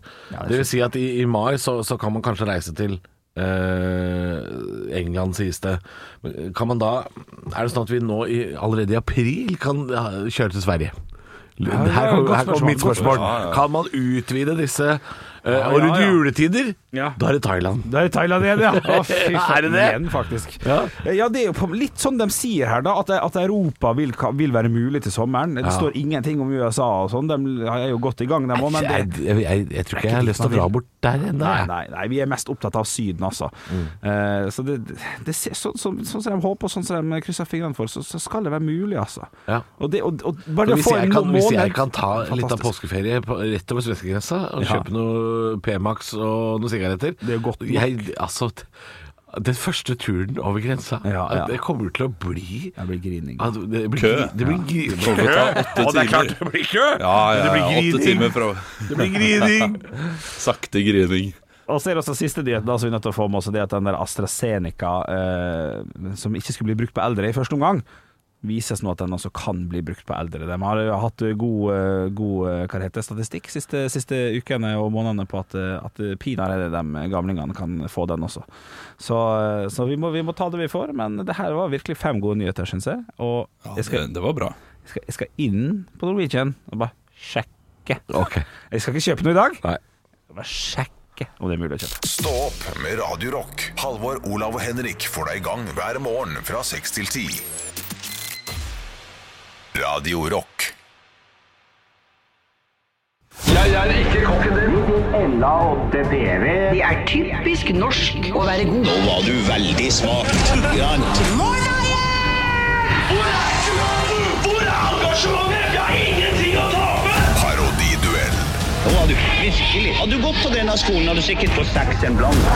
Speaker 4: vil si at i, i mai så, så kan man kanskje reise til eh, England, sies det. Men eh, Kan man da Er det sånn at vi nå i, allerede i april kan ja, kjøre til Sverige? Her kommer her kommer mitt spørsmål. Kan man utvide disse eh, og rundt
Speaker 6: ja.
Speaker 4: juletider?
Speaker 6: Ja.
Speaker 4: Da er det Thailand.
Speaker 6: Det er i Thailand igjen, ja. Å,
Speaker 4: Er
Speaker 6: fy
Speaker 4: det
Speaker 6: faen,
Speaker 4: det?
Speaker 6: Igjen, faktisk. Eh, Ja. det er jo på- litt sånn de sier her, da. At, at Europa vil, ka- vil være mulig til sommeren. Det står ingenting om USA og sånn. De er jo godt i gang, de òg. Men
Speaker 4: Jeg,
Speaker 6: det,
Speaker 4: jeg, jeg, jeg tror ikke jeg har lyst til å dra bort der ennå.
Speaker 6: nei,
Speaker 4: jeg.
Speaker 6: nei, nei, vi er mest opptatt av Syden, altså.
Speaker 4: Mm.
Speaker 6: Eh, så det, det ser, sånn som sånn som de håper, og sånn som de krysser fingrene for, så, så skal det være mulig, altså.
Speaker 4: Ja.
Speaker 6: Og det, og, og bare
Speaker 4: Så
Speaker 6: det å
Speaker 4: hvis
Speaker 6: få
Speaker 4: jeg,
Speaker 6: en
Speaker 4: kan, hvis jeg
Speaker 6: måned-
Speaker 4: kan ta litt av
Speaker 6: Fantastisk.
Speaker 4: påskeferie på, rett over svenskegrensa og
Speaker 6: Ja.
Speaker 4: kjøpe noe P-Max og noen sigaretter
Speaker 6: Det er jo godt nok.
Speaker 4: jeg, altså, t- Den første turen over grensa
Speaker 6: Ja, ja.
Speaker 4: Det kommer til å bli
Speaker 6: Det blir grining.
Speaker 4: altså, det blir,
Speaker 5: Kø.
Speaker 4: gri- Det blir gri-
Speaker 5: Det kommer til å ta åtte
Speaker 4: Og det er klart
Speaker 5: timer.
Speaker 4: det blir kø!
Speaker 5: Ja, ja,
Speaker 4: Men det
Speaker 5: ja,
Speaker 4: blir
Speaker 5: åtte
Speaker 4: grining.
Speaker 5: timer fra
Speaker 4: Det blir grining.
Speaker 5: sakte grining.
Speaker 6: Og så er det også siste nyheten da, som vi er nødt til å få med oss, og det er at den der AstraZeneca, eh, som ikke skulle bli brukt på eldre i første omgang, vises nå at den også kan bli brukt på eldre. De har jo hatt god, eh, god eh, hva det heter, statistikk siste, siste ukene og månedene på at, eh, at pinadø de gamlingene kan få den også. Så, eh, så vi, må, vi må ta det vi får, men det her var virkelig fem gode nyheter, syns jeg. Og
Speaker 5: Ja,
Speaker 6: jeg
Speaker 5: det,
Speaker 6: skal,
Speaker 5: det var bra.
Speaker 6: jeg skal, jeg skal inn på Norwegian og bare sjekke.
Speaker 4: Ok.
Speaker 6: Jeg skal ikke kjøpe noe i dag.
Speaker 4: Nei.
Speaker 6: Bare sjekke om det er mulig å kjøpe.
Speaker 1: Stå opp med Radio Rock. Halvor, Olav og Henrik får deg i gang hver morgen fra 6 til 10. Radio Rock.
Speaker 8: Jeg er ikke kokken din.
Speaker 9: Ella og DDV.
Speaker 10: Det er typisk norsk å være god.
Speaker 11: Nå var du veldig smak.
Speaker 8: Hvor er engasjementet? Hvor er engasjementet? Jeg har ingenting å tape!
Speaker 1: Parodiduell.
Speaker 11: Nå var du virkelig. Hadde du gått på denne skolen, hadde du sikkert fått seks en blant.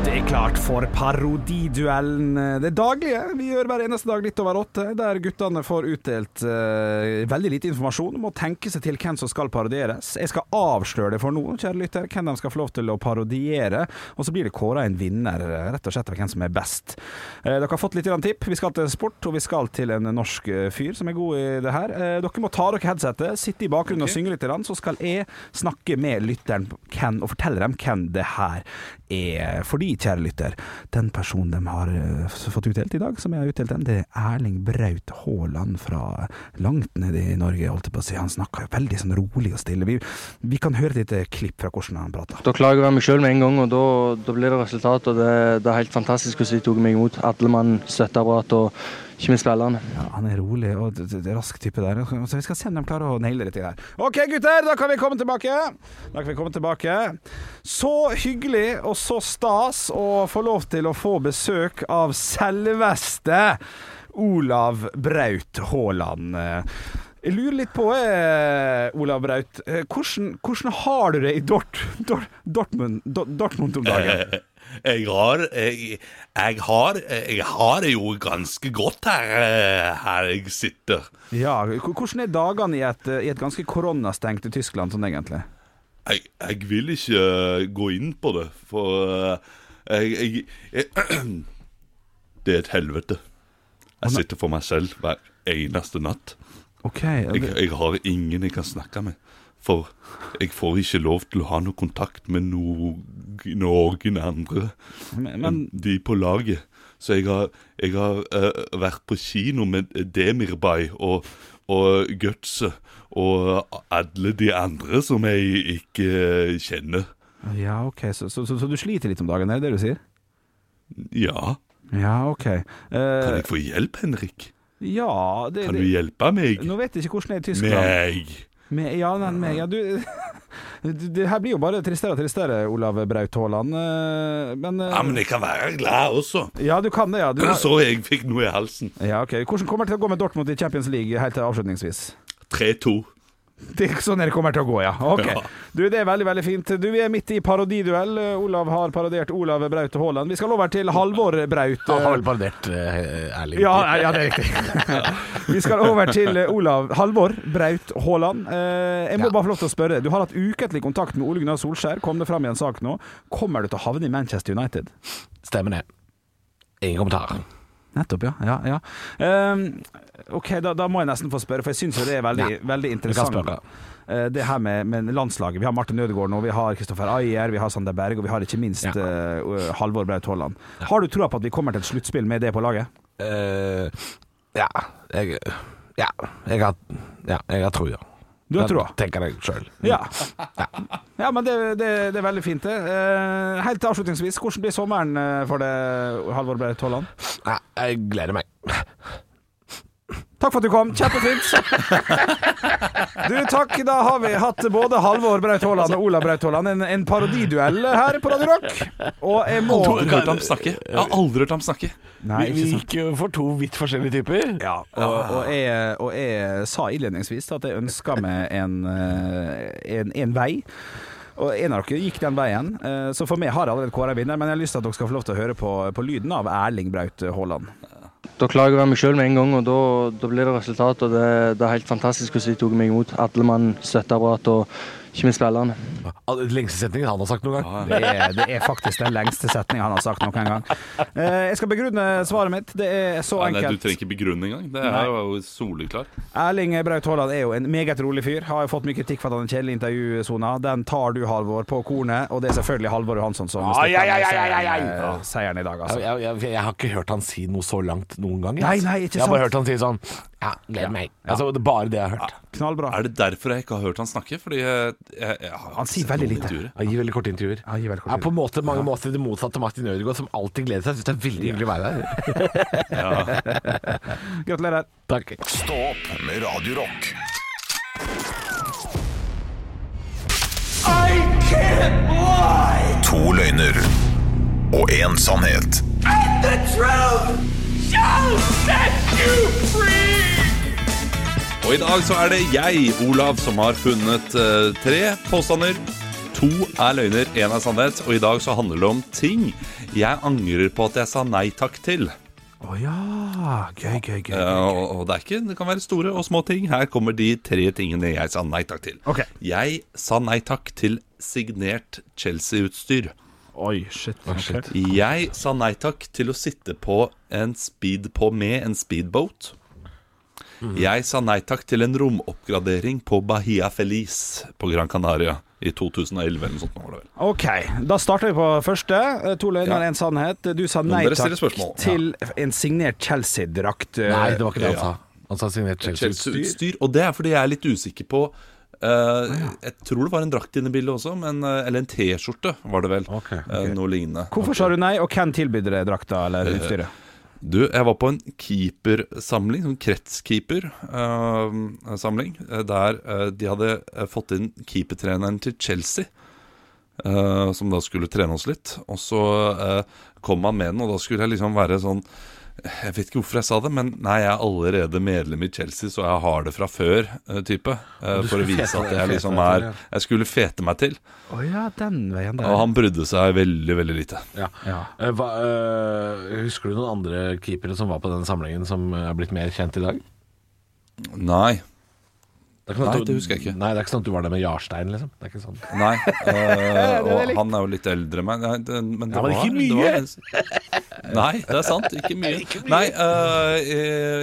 Speaker 6: Det er klart for parodiduellen. Det daglige vi gjør hver eneste dag litt over åtte, der guttene får utdelt eh, veldig lite informasjon om å tenke seg til hvem som skal parodieres. Jeg skal avsløre det for nå, kjære lytter, hvem de skal få lov til å parodiere. Og så blir det kåra en vinner, eh, rett og slett over hvem som er best. Eh, dere har fått litt grann tipp. Vi skal til sport, og vi skal til en norsk eh, fyr som er god i det her. Eh, dere må ta dere headsetet, sitte i bakgrunnen og synge litt, grann, så skal jeg snakke med lytteren hvem, og fortelle dem hvem det her er. Fordi, kjære lytter, den personen de har eh, f- fått utdelt i dag, som jeg har utdelt dem, det er Erling Braut Haaland fra langt nede i Norge, holdt jeg på å si. Han snakker jo veldig sånn rolig og stille. Vi, vi kan høre et lite klipp fra hvordan han prater.
Speaker 12: Da klarer jeg å være meg sjøl med en gang, og da, da blir det resultat. og det, det er helt fantastisk hvordan de tok meg imot. Alle mann, støtteapparat og ikke minst spillerne.
Speaker 6: Ja, han er rolig og d- d- rask type der. Så vi skal se om de klarer å naile dette her. OK, gutter, da kan vi komme tilbake. Da kan vi komme tilbake. Så hyggelig og så stas å få lov til å få besøk av selveste Olav Braut Haaland. Jeg lurer litt på, eh, Olav Braut, eh, hvordan, hvordan har du det i Dort, Dort, Dortmund, Dort, Dortmund om dagen?
Speaker 5: Jeg har jeg, jeg har jeg har det jo ganske godt her, eh, her jeg sitter.
Speaker 6: Ja, h- hvordan er dagene i et, eh, i et ganske koronastengt Tyskland sånn egentlig?
Speaker 5: Jeg, jeg vil ikke eh, gå inn på det, for eh, jeg, jeg, jeg Det er et helvete. Jeg sitter for meg selv hver eneste natt.
Speaker 6: Ok,
Speaker 5: Jeg, jeg har ingen jeg kan snakke med. For jeg får ikke lov til å ha noe kontakt med no, noen andre
Speaker 6: men,
Speaker 5: enn
Speaker 6: men
Speaker 5: de på laget. Så jeg har, jeg har eh, vært på kino med Demirbay og, og Gutse og alle de andre som jeg ikke eh, kjenner.
Speaker 6: Ja, ok, så, så, så, så du sliter litt om dagen, er det det du sier?
Speaker 5: Ja,
Speaker 6: Ja, ok.
Speaker 5: kan
Speaker 6: Eh,
Speaker 5: jeg få hjelp, Henrik?
Speaker 6: ja, det,
Speaker 5: Kan du
Speaker 6: det
Speaker 5: hjelpe meg?
Speaker 6: Nå vet jeg ikke hvordan det er i Tyskland.
Speaker 5: Nei.
Speaker 6: Med, ja, nei, med, ja, du Det her blir jo bare tristere og tristere, Olav Braut Haaland. eh, Men, eh,
Speaker 5: Ja, men jeg kan være glad også.
Speaker 6: Ja, du kan det, ja. Du, har-
Speaker 5: Så jeg fikk noe i halsen.
Speaker 6: ja ok. Hvordan kommer det til å gå med Dortmund i Champions League helt til avslutningsvis?
Speaker 5: 3-2.
Speaker 6: Det er sånn det kommer til å gå, ja. Ok.
Speaker 5: Ja.
Speaker 6: Du, det er veldig, veldig fint. Du, vi er midt i parodiduell. Eh, Olav har parodiert Olav Braut Haaland. Vi skal over til Halvor Braut.
Speaker 4: Han har
Speaker 6: eh,
Speaker 4: vel parodert eh, Erling.
Speaker 6: Ja, nei, ja, det er riktig. Vi skal over til eh, Olav Halvor Braut Haaland. Eh, Jeg må bare få lov til å spørre. Du har hatt ukentlig kontakt med Ole Gunnar Solskjær. Kom det fram i en sak nå? Kommer du til å havne i Manchester United?
Speaker 4: Stemmer det. Ingen kommentar.
Speaker 6: Nettopp, ja. ja, ja. Ehm, ok, da, da må jeg nesten få spørre, for jeg syns jo det er veldig,
Speaker 4: Ja,
Speaker 6: veldig
Speaker 4: vi kan
Speaker 6: interessant.
Speaker 4: spørre.
Speaker 6: Eh, Det her med, med landslaget. Vi har Martin Ødegaard nå, vi har Kristoffer Ayer, vi har Sander Berg, og vi har ikke minst
Speaker 4: Ja.
Speaker 6: eh, Halvor Braut Haaland. Har du troa på at vi kommer til et sluttspill med det på laget?
Speaker 4: Eh, ja, jeg, ja, jeg har Ja, jeg har trua.
Speaker 6: Du har
Speaker 4: Det
Speaker 6: troa?
Speaker 4: Tenker jeg sjøl.
Speaker 6: Mm. Ja. ja, men det, det, det er veldig fint, det. Eh, Helt til avslutningsvis, hvordan blir sommeren eh, for deg, Halvor Braut Haaland?
Speaker 4: Jeg gleder meg.
Speaker 6: Takk for at du kom. Kjempefint. Du, takk. Da har vi hatt både Halvor Braut Haaland og Olav Braut Haaland. En, en parodiduell her på Radio Rock. Og jeg må
Speaker 5: Aldri hørt ham snakke. Jeg har aldri hørt ham snakke.
Speaker 6: Nei,
Speaker 4: vi,
Speaker 6: ikke
Speaker 4: vi
Speaker 6: sant.
Speaker 4: gikk jo for to vidt forskjellige typer.
Speaker 6: Ja, og,
Speaker 5: Ah.
Speaker 6: og, jeg, og jeg sa innledningsvis at jeg ønska meg en, eh, en, en vei. Og en av dere gikk den veien, eh, så for meg har jeg allerede kåra vinner. Men jeg har lyst til at dere skal få lov til å høre på, på lyden av Erling Braut Haaland.
Speaker 12: Da klager jeg meg sjøl med en gang, og da, da blir det resultat. Og det, det er helt fantastisk hvordan de tok meg imot. Alle mann, støtteapparat og ikke minst spillerne.
Speaker 4: Ja, Den lengste setningen han har sagt noen gang.
Speaker 5: Ah.
Speaker 6: Det er, det er faktisk den lengste setningen han har sagt noen gang. Eh, Jeg skal begrunne svaret mitt. Det er så
Speaker 5: Nei, nei, du
Speaker 6: enkelt.
Speaker 5: trenger ikke begrunne engang. Det
Speaker 6: Nei.
Speaker 5: er jo soleklar.
Speaker 6: Erling Braut Haaland er jo en meget rolig fyr. Har jo fått mye kritikk for at han er kjedelig i intervjusona. Den tar du, Halvor, på kornet. Og det er selvfølgelig Halvor Johansson
Speaker 5: Ah,
Speaker 6: som
Speaker 4: Ai, ai, ai, ai, ai, ai.
Speaker 6: stikker med seieren i dag, altså.
Speaker 4: Jeg, jeg, jeg, jeg har ikke hørt han si noe så langt noen gang. jeg. altså.
Speaker 6: Nei, nei, ikke
Speaker 4: jeg har bare
Speaker 6: sant.
Speaker 4: hørt han si sånn Ja, gleder meg. Altså, det er bare det jeg har hørt.
Speaker 6: Knallbra.
Speaker 5: Er det derfor jeg ikke har hørt han snakke? Fordi jeg, jeg, jeg har
Speaker 6: Han
Speaker 5: ikke
Speaker 6: sier
Speaker 5: sett
Speaker 6: veldig
Speaker 5: noen
Speaker 6: lite.
Speaker 5: intervjuer.
Speaker 4: Han gir veldig korte intervjuer.
Speaker 6: Han gir veldig korte
Speaker 4: er på en måte, mange måter det motsatte av Martin Ødegaard, som alltid gleder seg. Jeg Syns det er veldig hyggelig å være her.
Speaker 6: Gratulerer.
Speaker 4: Takk.
Speaker 1: Stå opp med Radio Rock.
Speaker 8: I can't lie!
Speaker 1: To løgner og én sannhet.
Speaker 8: And the truth shall set you free!
Speaker 5: Og i dag så er det jeg, Olav, som har funnet eh, tre påstander. To er løgner, én er sannhet. Og i dag så handler det om ting jeg angrer på at jeg sa nei takk til.
Speaker 6: Å ja. Gøy, gøy, gøy.
Speaker 5: Eh, og, og det er ikke, det kan være store og små ting. Her kommer de tre tingene jeg sa nei takk til.
Speaker 6: Ok.
Speaker 5: Jeg sa nei takk til signert Chelsea-utstyr.
Speaker 6: Oi, shit. Ok.
Speaker 5: Jeg sa nei takk til å sitte på en speed på med en speedboat. Jeg sa nei takk til en romoppgradering på Bahia Feliz på Gran Canaria i 2011 eller noe sånt. var det vel.
Speaker 6: OK, da starter vi på første. Eh, To løgner,
Speaker 5: Ja.
Speaker 6: én sannhet. Du sa
Speaker 5: må
Speaker 6: nei
Speaker 5: dere stille
Speaker 6: takk
Speaker 5: spørsmål.
Speaker 6: til en signert Chelsea-drakt. eh,
Speaker 4: Nei, det var ikke det han sa. Han sa signert Chelsea-utstyr.
Speaker 5: Chelsea-utstyr. Og det er fordi jeg er litt usikker på eh, Jeg tror det var en drakt inne i bildet også, men, eh, eller en T-skjorte var det vel. Eh, noe lignende.
Speaker 6: Hvorfor sa du nei, og hvem tilbydde deg drakta eller utstyret?
Speaker 5: Du, jeg var på en keepersamling, sånn kretskeeper-samling, der eh, de hadde eh, fått inn keepertreneren til Chelsea, eh, som da skulle trene oss litt. Og så eh, kom han med den, og da skulle jeg liksom være sånn Jeg vet ikke hvorfor jeg sa det, men nei, jeg er allerede medlem i Chelsea, så jeg har det fra før-type. eh, for å vise at jeg liksom er Jeg skulle fete meg til.
Speaker 6: Å ja, den veien der.
Speaker 5: Og han brydde seg veldig, veldig lite.
Speaker 4: Ja. Eh, Hva, eh, husker du noen andre keepere som var på den samlingen, som eh, er blitt mer kjent i dag?
Speaker 5: Nei.
Speaker 4: Det er ikke sånn at
Speaker 5: Nei,
Speaker 4: du-
Speaker 5: det husker jeg ikke.
Speaker 4: Nei, det er ikke sånn at du var der med Jarstein, liksom. Det er ikke sånn.
Speaker 5: Nei, eh, og han er jo litt eldre enn meg. Nei, det, men det
Speaker 4: Ja, men
Speaker 5: var,
Speaker 4: ikke
Speaker 5: Det var, nei, det er sant. Ikke mye. Nei, eh,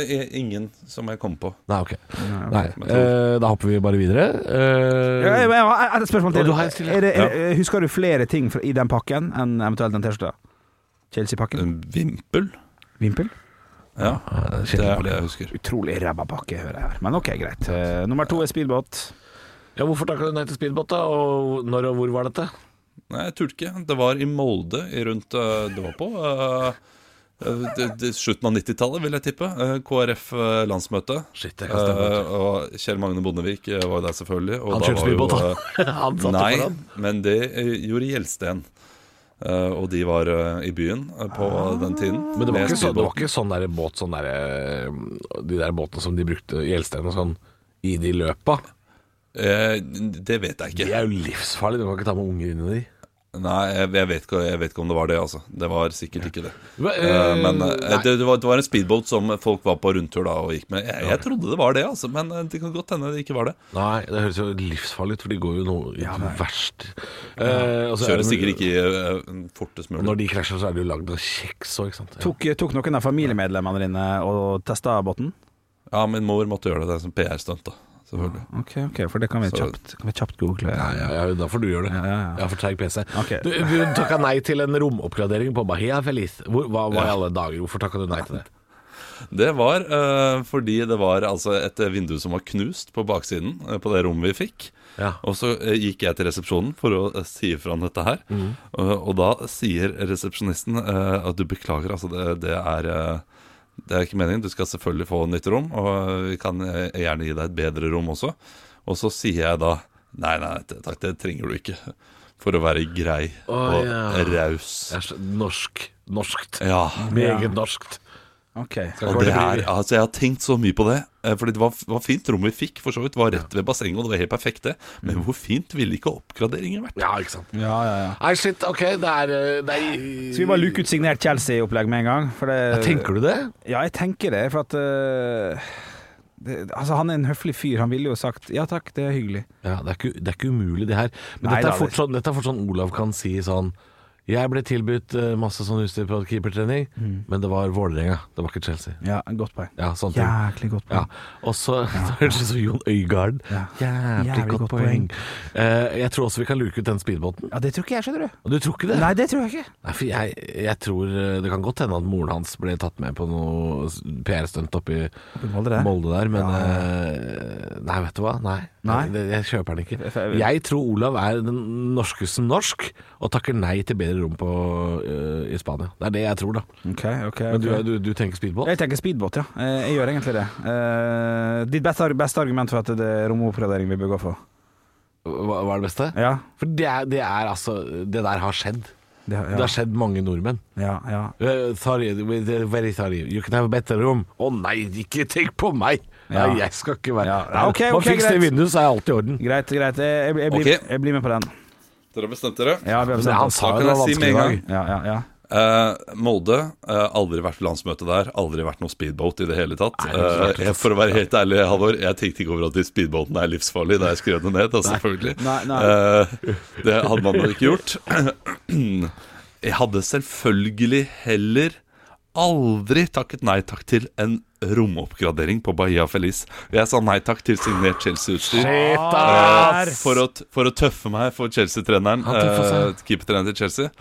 Speaker 5: eh, ingen som jeg kom på.
Speaker 4: Nei, ok. Nei, eh, da hopper vi bare videre. Eh,
Speaker 6: Ja, jeg- jeg har et spørsmål til.
Speaker 4: Du har en til, ja.
Speaker 6: Er det, er, er- husker du flere ting fra, i den pakken enn eventuelt den T-skjorta? Chelsea-pakken?
Speaker 5: En vimpel?
Speaker 6: Vimpel?
Speaker 5: Ja, det er det jeg husker.
Speaker 6: Utrolig ræva pakke, hører jeg her. Men OK, greit. Eh, nummer to er speedbåt.
Speaker 4: ja, hvorfor takka du nei til speedbåt, da? Og når og hvor var dette?
Speaker 5: Nei, jeg turte ikke. Det var i Molde i rundt eh, Det var på eh, eh, det, det, slutten av 90-tallet, vil jeg tippe. Eh, KrF-landsmøte.
Speaker 4: Shit, det kan stemme, vet
Speaker 5: Eh, og Kjell Magne Bondevik eh, var jo der, selvfølgelig. Og
Speaker 4: Han
Speaker 5: da
Speaker 4: kjørte
Speaker 5: var jo,
Speaker 4: speedbåt, han.
Speaker 5: eh,
Speaker 4: Han satte
Speaker 5: Nei,
Speaker 4: foran.
Speaker 5: men det eh, gjorde Gjelsten. Eh, og de var eh, i byen eh, på den tiden.
Speaker 4: Ah. Men det var,
Speaker 5: med
Speaker 4: ikke sånn, det var
Speaker 5: speedbåt.
Speaker 4: ikke sånn der båt sånn der, eh, De der båtene som de brukte i Elstein og sånn i de løpa.
Speaker 5: Eh, det vet jeg
Speaker 4: De
Speaker 5: ikke.
Speaker 4: er jo livsfarlige. Du kan ikke ta med unger inn i de.
Speaker 5: Nei, jeg, jeg, vet ikke, jeg vet ikke om det var det, altså. Det var sikkert ikke det.
Speaker 4: Hva,
Speaker 5: Eh,
Speaker 4: eh,
Speaker 5: men eh,
Speaker 4: nei.
Speaker 5: det, det, var, det var en speedboat som folk var på rundtur da og gikk med. Jeg, jeg trodde det var det, altså, men eh, det kan godt hende det ikke var det.
Speaker 4: Nei, det høres jo livsfarlig ut, for de går jo noe verst. Eh, og så er
Speaker 5: Kjører
Speaker 4: det-
Speaker 5: sikkert ikke eh, fortest
Speaker 4: Og
Speaker 5: mulig.
Speaker 4: når de krasjer, så er det jo lagd av kjeks òg, ikke sant.
Speaker 6: Tok, eh, tok noen av familiemedlemmene dine og testa båten?
Speaker 5: Ja, min mor måtte gjøre det. Det er som PR-stunt, da. Selvfølgelig.
Speaker 6: Ok, ok, for det kan vi
Speaker 5: Så-
Speaker 6: kjapt, kan vi kjapt google.
Speaker 4: Ja, ja, ja, da får du gjøre det.
Speaker 6: Ja, ja, ja.
Speaker 4: Jeg har for treig PC.
Speaker 6: Ok.
Speaker 4: Du, du takka nei til en romoppgradering på Bahia Feliz. Hvor, hva, hva i
Speaker 5: Ja.
Speaker 4: alle dager? Hvorfor takka du nei til det?
Speaker 5: Det var eh, fordi det var altså et vindu som var knust på baksiden eh, på det rommet vi fikk.
Speaker 4: Ja.
Speaker 5: Og så eh, gikk jeg til resepsjonen for å eh, si ifra om dette her. Og, og da sier resepsjonisten eh, at du beklager, altså det, det er eh, det er ikke meningen. Du skal selvfølgelig få nytt rom, og vi kan eh, gjerne gi deg et bedre rom også. Og så sier jeg da nei, nei, t- takk, det trenger du ikke. For å være grei og
Speaker 4: ja.
Speaker 5: raus.
Speaker 4: Jeg er så- Norsk. Norskt.
Speaker 5: Ja.
Speaker 4: Meget norskt.
Speaker 6: Ok.
Speaker 5: Og det er, altså Jeg har tenkt så mye på det. eh, Fordi det var, var fint rommet vi fikk, for så vidt. Det var rett ved bassenget, og det var helt perfekt, det. Men hvor fint ville ikke oppgraderingen vært?
Speaker 4: Ja, ikke sant.
Speaker 6: Ja, ja, ja.
Speaker 4: Nei, shit, OK, det er, eh, det er
Speaker 6: Skal vi bare luke ut signert Chelsea-opplegg med en gang? For det,
Speaker 4: Tenker du det?
Speaker 6: Ja, jeg tenker det, for at eh, det, Altså, han er en høflig fyr. Han ville jo sagt ja takk, det er hyggelig.
Speaker 4: Ja, det er ikke, det er ikke umulig, det her. Men
Speaker 6: Nei,
Speaker 4: dette, er
Speaker 6: det er
Speaker 4: fort
Speaker 6: det.
Speaker 4: sånn, dette er fort sånn Olav kan si sånn Jeg ble tilbudt eh, masse sånn utstyr på keepertrening, men det var Vålerenga, det var ikke Chelsea.
Speaker 6: Ja, godt poeng.
Speaker 4: Ja, sånne ting.
Speaker 6: Jæklig godt
Speaker 4: Ja.
Speaker 6: poeng.
Speaker 4: Og så det høres det ut som Jon Øigarden.
Speaker 6: Ja.
Speaker 4: Jævlig,
Speaker 6: Jævlig
Speaker 4: godt,
Speaker 6: godt
Speaker 4: poeng. Eh, jeg tror også vi kan luke ut den speedbåten.
Speaker 6: Ja. det tror ikke jeg, skjønner du.
Speaker 4: Og du tror ikke det?
Speaker 6: Nei, det tror jeg ikke.
Speaker 4: Nei, for jeg, jeg tror eh, Det kan godt hende at moren hans ble tatt med på noe s- PR-stunt oppi
Speaker 6: i Molde der.
Speaker 4: Molde der, men eh, Nei, vet du hva? Nei.
Speaker 6: Nei.
Speaker 4: Det, jeg kjøper den ikke.
Speaker 6: jeg-
Speaker 4: Jeg tror Olav er den norskeste norsk, og takker nei til bedre rom på, eh, i Spania. Det er det jeg tror, da.
Speaker 6: Ok, ok,
Speaker 4: Men du,
Speaker 6: ok.
Speaker 4: du, du tenker speedbåt?
Speaker 6: Jeg tenker speedbåt, ja. Eh, Jeg gjør egentlig det. Eh, Ditt beste, beste argument for at det er romoppgradering vi bør gå for?
Speaker 4: Hva, hva er det beste?
Speaker 6: Ja.
Speaker 4: For det, er- det er altså Det der har skjedd.
Speaker 6: Det,
Speaker 4: Det
Speaker 6: ja.
Speaker 4: har skjedd mange nordmenn.
Speaker 6: ja, ja.
Speaker 4: Eh, sorry, we're very sorry. You can have a better room. Å nei, ikke tenk på meg!
Speaker 6: Ja.
Speaker 4: Nei, jeg skal ikke være
Speaker 6: Ja,
Speaker 4: Nei,
Speaker 6: ok,
Speaker 4: Man
Speaker 6: ok,
Speaker 4: fikser det
Speaker 6: greit.
Speaker 4: vinduet, så er alt i orden.
Speaker 6: Greit, greit. Jeg, jeg, jeg, blir,
Speaker 5: Ok.
Speaker 6: jeg blir med på den.
Speaker 5: Dere har bestemt dere?
Speaker 6: Ja, vi har
Speaker 4: Men
Speaker 6: bestemt
Speaker 4: han
Speaker 6: oss.
Speaker 4: sa
Speaker 5: Da
Speaker 4: jo
Speaker 5: kan
Speaker 4: det var
Speaker 5: jeg si
Speaker 4: vanskelig i
Speaker 5: med en
Speaker 4: dag.
Speaker 5: gang.
Speaker 6: Ja, ja, ja.
Speaker 5: Eh, Molde. eh, aldri vært på landsmøte der. Aldri vært noe speedboat i det hele tatt.
Speaker 4: Nei, det er altså. klart.
Speaker 5: Eh, jeg- for å være helt ærlig, Halvor, jeg tenkte ikke over at de speedboatene er livsfarlige da jeg skrev det ned. Da, selvfølgelig.
Speaker 6: Nei, nei.
Speaker 5: Eh, det hadde man jo ikke gjort. jeg hadde selvfølgelig heller aldri takket nei takk til en romoppgradering på Bahia Feliz. Jeg sa nei takk til signert Chelsea-utstyr.
Speaker 4: Shit,
Speaker 5: Eh,
Speaker 4: ass!
Speaker 5: for, å, for å tøffe meg for Chelsea-treneren,
Speaker 4: Han tøffer seg.
Speaker 5: eh, keepertreneren til Chelsea.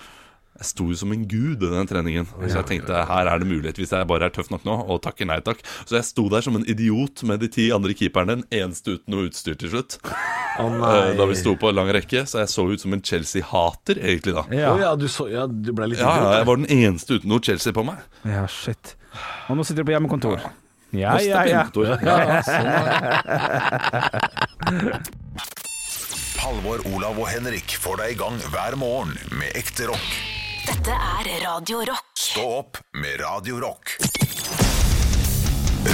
Speaker 5: Jeg sto jo som en gud i den treningen. Så jeg tenkte her er det mulighet, hvis jeg bare er tøff nok nå, og takker nei takk. Så jeg sto der som en idiot med de ti andre keeperne, den eneste uten noe utstyr til slutt.
Speaker 4: Å
Speaker 5: eh, Da
Speaker 4: nei.
Speaker 5: vi sto på lang rekke, så jeg så ut som en Chelsea-hater, egentlig, da.
Speaker 4: Å
Speaker 6: Ja.
Speaker 4: ja, du, så, ja, du ble litt
Speaker 5: Ja, ja,
Speaker 4: idiot,
Speaker 5: jeg var den eneste uten noe Chelsea på meg.
Speaker 6: ja, shit. Og nå sitter du på hjemmekontor. Ja,
Speaker 5: Kosta
Speaker 6: ja, ja.
Speaker 5: penger,
Speaker 4: da. Ja, sånn.
Speaker 1: Halvor, Olav og Henrik får deg i gang hver morgen med ekte rock.
Speaker 2: Dette er Radio Rock.
Speaker 1: Stå opp med Radio Rock.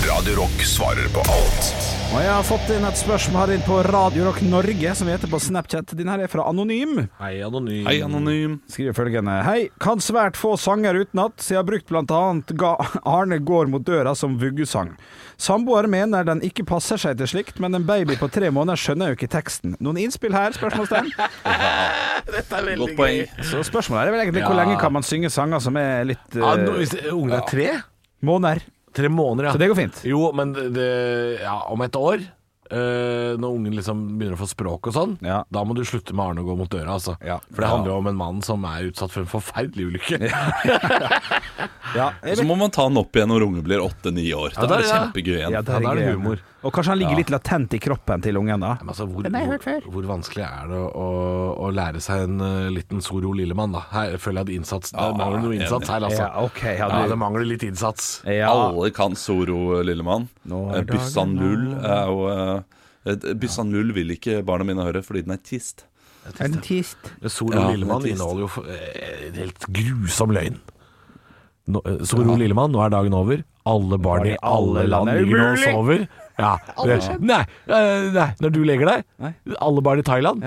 Speaker 1: Radio Rock svarer på alt.
Speaker 6: Og jeg har fått inn et spørsmål her inn på Radio Rock Norge, som vi heter på Snapchat. Din her er fra Anonym.
Speaker 4: Hei, anonym.
Speaker 5: Hei, anonym.
Speaker 6: Skriver følgende Hei, kan svært få sanger utenat, så jeg har brukt blant annet ga Arne går mot døra som vuggesang. Samboer mener den ikke passer seg til slikt, men en baby på tre måneder skjønner jo ikke teksten. Noen innspill her? spørsmålstegn?
Speaker 5: Godt poeng.
Speaker 6: Så spørsmålet er vel egentlig hvor
Speaker 4: Ja.
Speaker 6: lenge kan man synge sanger som er litt
Speaker 4: Ja, nå,
Speaker 6: eh,
Speaker 4: hvis ungen er tre?
Speaker 6: måneder?
Speaker 4: Tre måneder, ja.
Speaker 6: Så det går fint.
Speaker 4: Jo, men det, det- ja, om et år, eh, når ungen liksom begynner å få språk og sånn,
Speaker 6: Ja.
Speaker 4: da må du slutte med Arne å gå mot døra, altså.
Speaker 6: Ja.
Speaker 4: For det handler jo om en mann som er utsatt for en forferdelig ulykke.
Speaker 6: Ja,
Speaker 5: Og Så må man ta den opp igjen når unge blir åtte-ni år. Da
Speaker 4: da-
Speaker 5: er det
Speaker 4: ja.
Speaker 5: kjempegøy igjen.
Speaker 6: der
Speaker 4: Ja, da er det
Speaker 6: greiene.
Speaker 4: humor.
Speaker 6: Og kanskje han ligger litt latent i kroppen til ungen, da.
Speaker 4: Men altså, hvor, hvor, hvor vanskelig er det å, å, å lære seg en eh, liten Soro Lillemann, da? Her føler jeg at innsats Det
Speaker 5: Ja,
Speaker 4: mangler noe innsats her, altså.
Speaker 6: Ah, Ja, ok, ja,
Speaker 4: ja,
Speaker 6: du-
Speaker 4: det mangler litt innsats.
Speaker 5: Alle kan Soro, Lillemann.
Speaker 6: Nå er
Speaker 5: Eh, Byssan
Speaker 6: dagen
Speaker 5: Lull er jo eh, eh, Byssan Lull vil ikke barna mine høre fordi den er tist.
Speaker 6: En tist.
Speaker 4: Soro
Speaker 5: Ja,
Speaker 4: Eh, Lillemann
Speaker 5: det er trist.
Speaker 4: inneholder jo eh, en helt grusom løgn. Nå, eh, Soro Lillemann, nå er dagen over. Alle barn i alle land
Speaker 6: Er det
Speaker 4: ligger nå og
Speaker 6: mulig?
Speaker 4: sover. Ja.
Speaker 6: Alle
Speaker 4: det- Nei, eh, nei, når du legger deg Alle barn i Thailand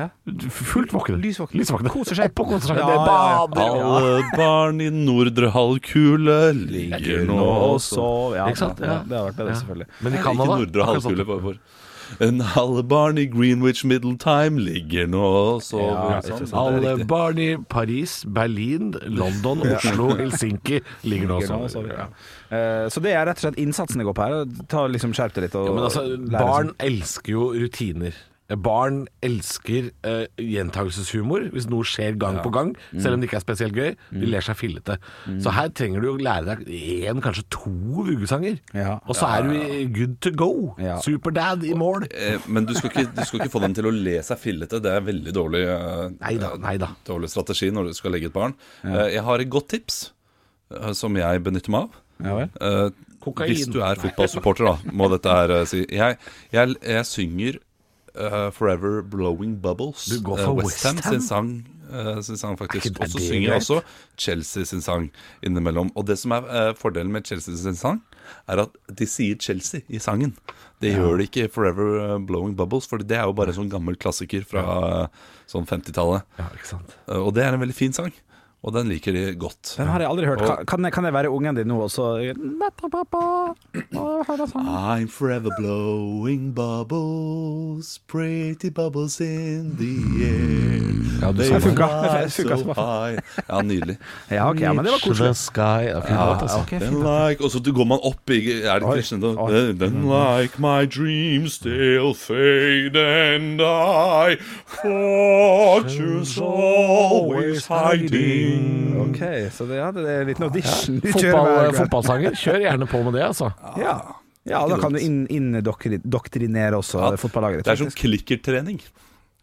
Speaker 4: fullt våkne. Lysvåkne. Koser seg. Opp og koser seg.
Speaker 6: Ja,
Speaker 4: Det
Speaker 6: ja, ja.
Speaker 4: bader.
Speaker 5: Alle barn i nordre halvkule ligger nå og sover.
Speaker 6: Ja, ja, det hadde vært bedre, selvfølgelig.
Speaker 5: Men i
Speaker 6: Nei,
Speaker 5: Canada
Speaker 6: ikke
Speaker 5: Nordre halvkule bare for. En alle barn i Greenwich Middle Time ligger nå og sover.
Speaker 4: Ja,
Speaker 5: sånn.
Speaker 4: alle barn i Paris, Berlin, London,
Speaker 6: Ja.
Speaker 4: Oslo, Helsinki ligger nå og
Speaker 6: Ligger nå og
Speaker 4: sover.
Speaker 6: sover, ja. Eh, Så det er rett og slett innsatsen det går på her. Ta liksom Skjerp deg litt. Og
Speaker 4: Ja, men altså,
Speaker 6: lære
Speaker 4: barn
Speaker 6: sånn.
Speaker 4: elsker jo rutiner. Barn elsker eh, gjentagelseshumor hvis noe skjer gang
Speaker 5: Ja.
Speaker 4: på gang, selv
Speaker 5: Mm.
Speaker 4: om det ikke er spesielt gøy.
Speaker 6: Mm.
Speaker 4: De ler seg fillete. Så her trenger du jo lære deg én, kanskje to vuggesanger. Og så er du i- good to go. Superdad i mål.
Speaker 5: Eh, Men du skal, ikke, du skal ikke få dem til å le seg fillete. Det er veldig dårlig, eh, dårlig strategi når du skal legge et barn. Eh, Jeg har et godt tips eh, som jeg benytter meg av. Eh,
Speaker 4: Kokain.
Speaker 5: Hvis du er fotballsupporter, da, må dette her eh, si. Jeg, jeg, jeg synger eh, 'Forever Blowing Bubbles'.
Speaker 4: Du går
Speaker 5: eh,
Speaker 4: for
Speaker 5: West Ham
Speaker 4: West
Speaker 5: sin
Speaker 4: Ham?
Speaker 5: sang. eh, sin sang faktisk.
Speaker 4: ikke det
Speaker 5: Og så
Speaker 4: det
Speaker 5: synger jeg
Speaker 4: greit?
Speaker 5: også Chelsea sin sang innimellom. Og det som er eh, fordelen med Chelsea sin sang, er at de sier Chelsea i sangen. Det
Speaker 4: Ja.
Speaker 5: gjør de ikke i 'Forever eh, Blowing Bubbles', for det er jo bare en sånn gammel klassiker fra eh, sånn 50-tallet. Eh, og det er en veldig fin sang, og den liker de godt.
Speaker 6: Den har jeg aldri hørt.
Speaker 5: Og-
Speaker 6: Kan- Kan jeg, kan jeg være ungen din nå og så
Speaker 5: I'm forever blowing bubbles, pretty bubbles in the air.
Speaker 4: Ja, du
Speaker 5: They
Speaker 4: sa det. Det funka.
Speaker 5: fly
Speaker 4: Det funka som
Speaker 5: so
Speaker 4: faen.
Speaker 5: high. Ja, nydelig.
Speaker 6: Ja, ok, ja, men det var koselig.
Speaker 4: Reach the sky. Ja, fint låt, altså.
Speaker 5: Then like, og så går man opp i Er det Krishna? Then, then like my dreams they'll fade and die. Fortune's always hiding.
Speaker 6: OK, så det, ja, det er en liten audition. Vi kjører
Speaker 4: Fotball,
Speaker 6: hver kveld.
Speaker 4: fotballsanger, kjør gjerne på med det, altså.
Speaker 6: Ja. ja, da kan du inn- indoktrinere også fotballaget
Speaker 5: Det er som klikkertrening.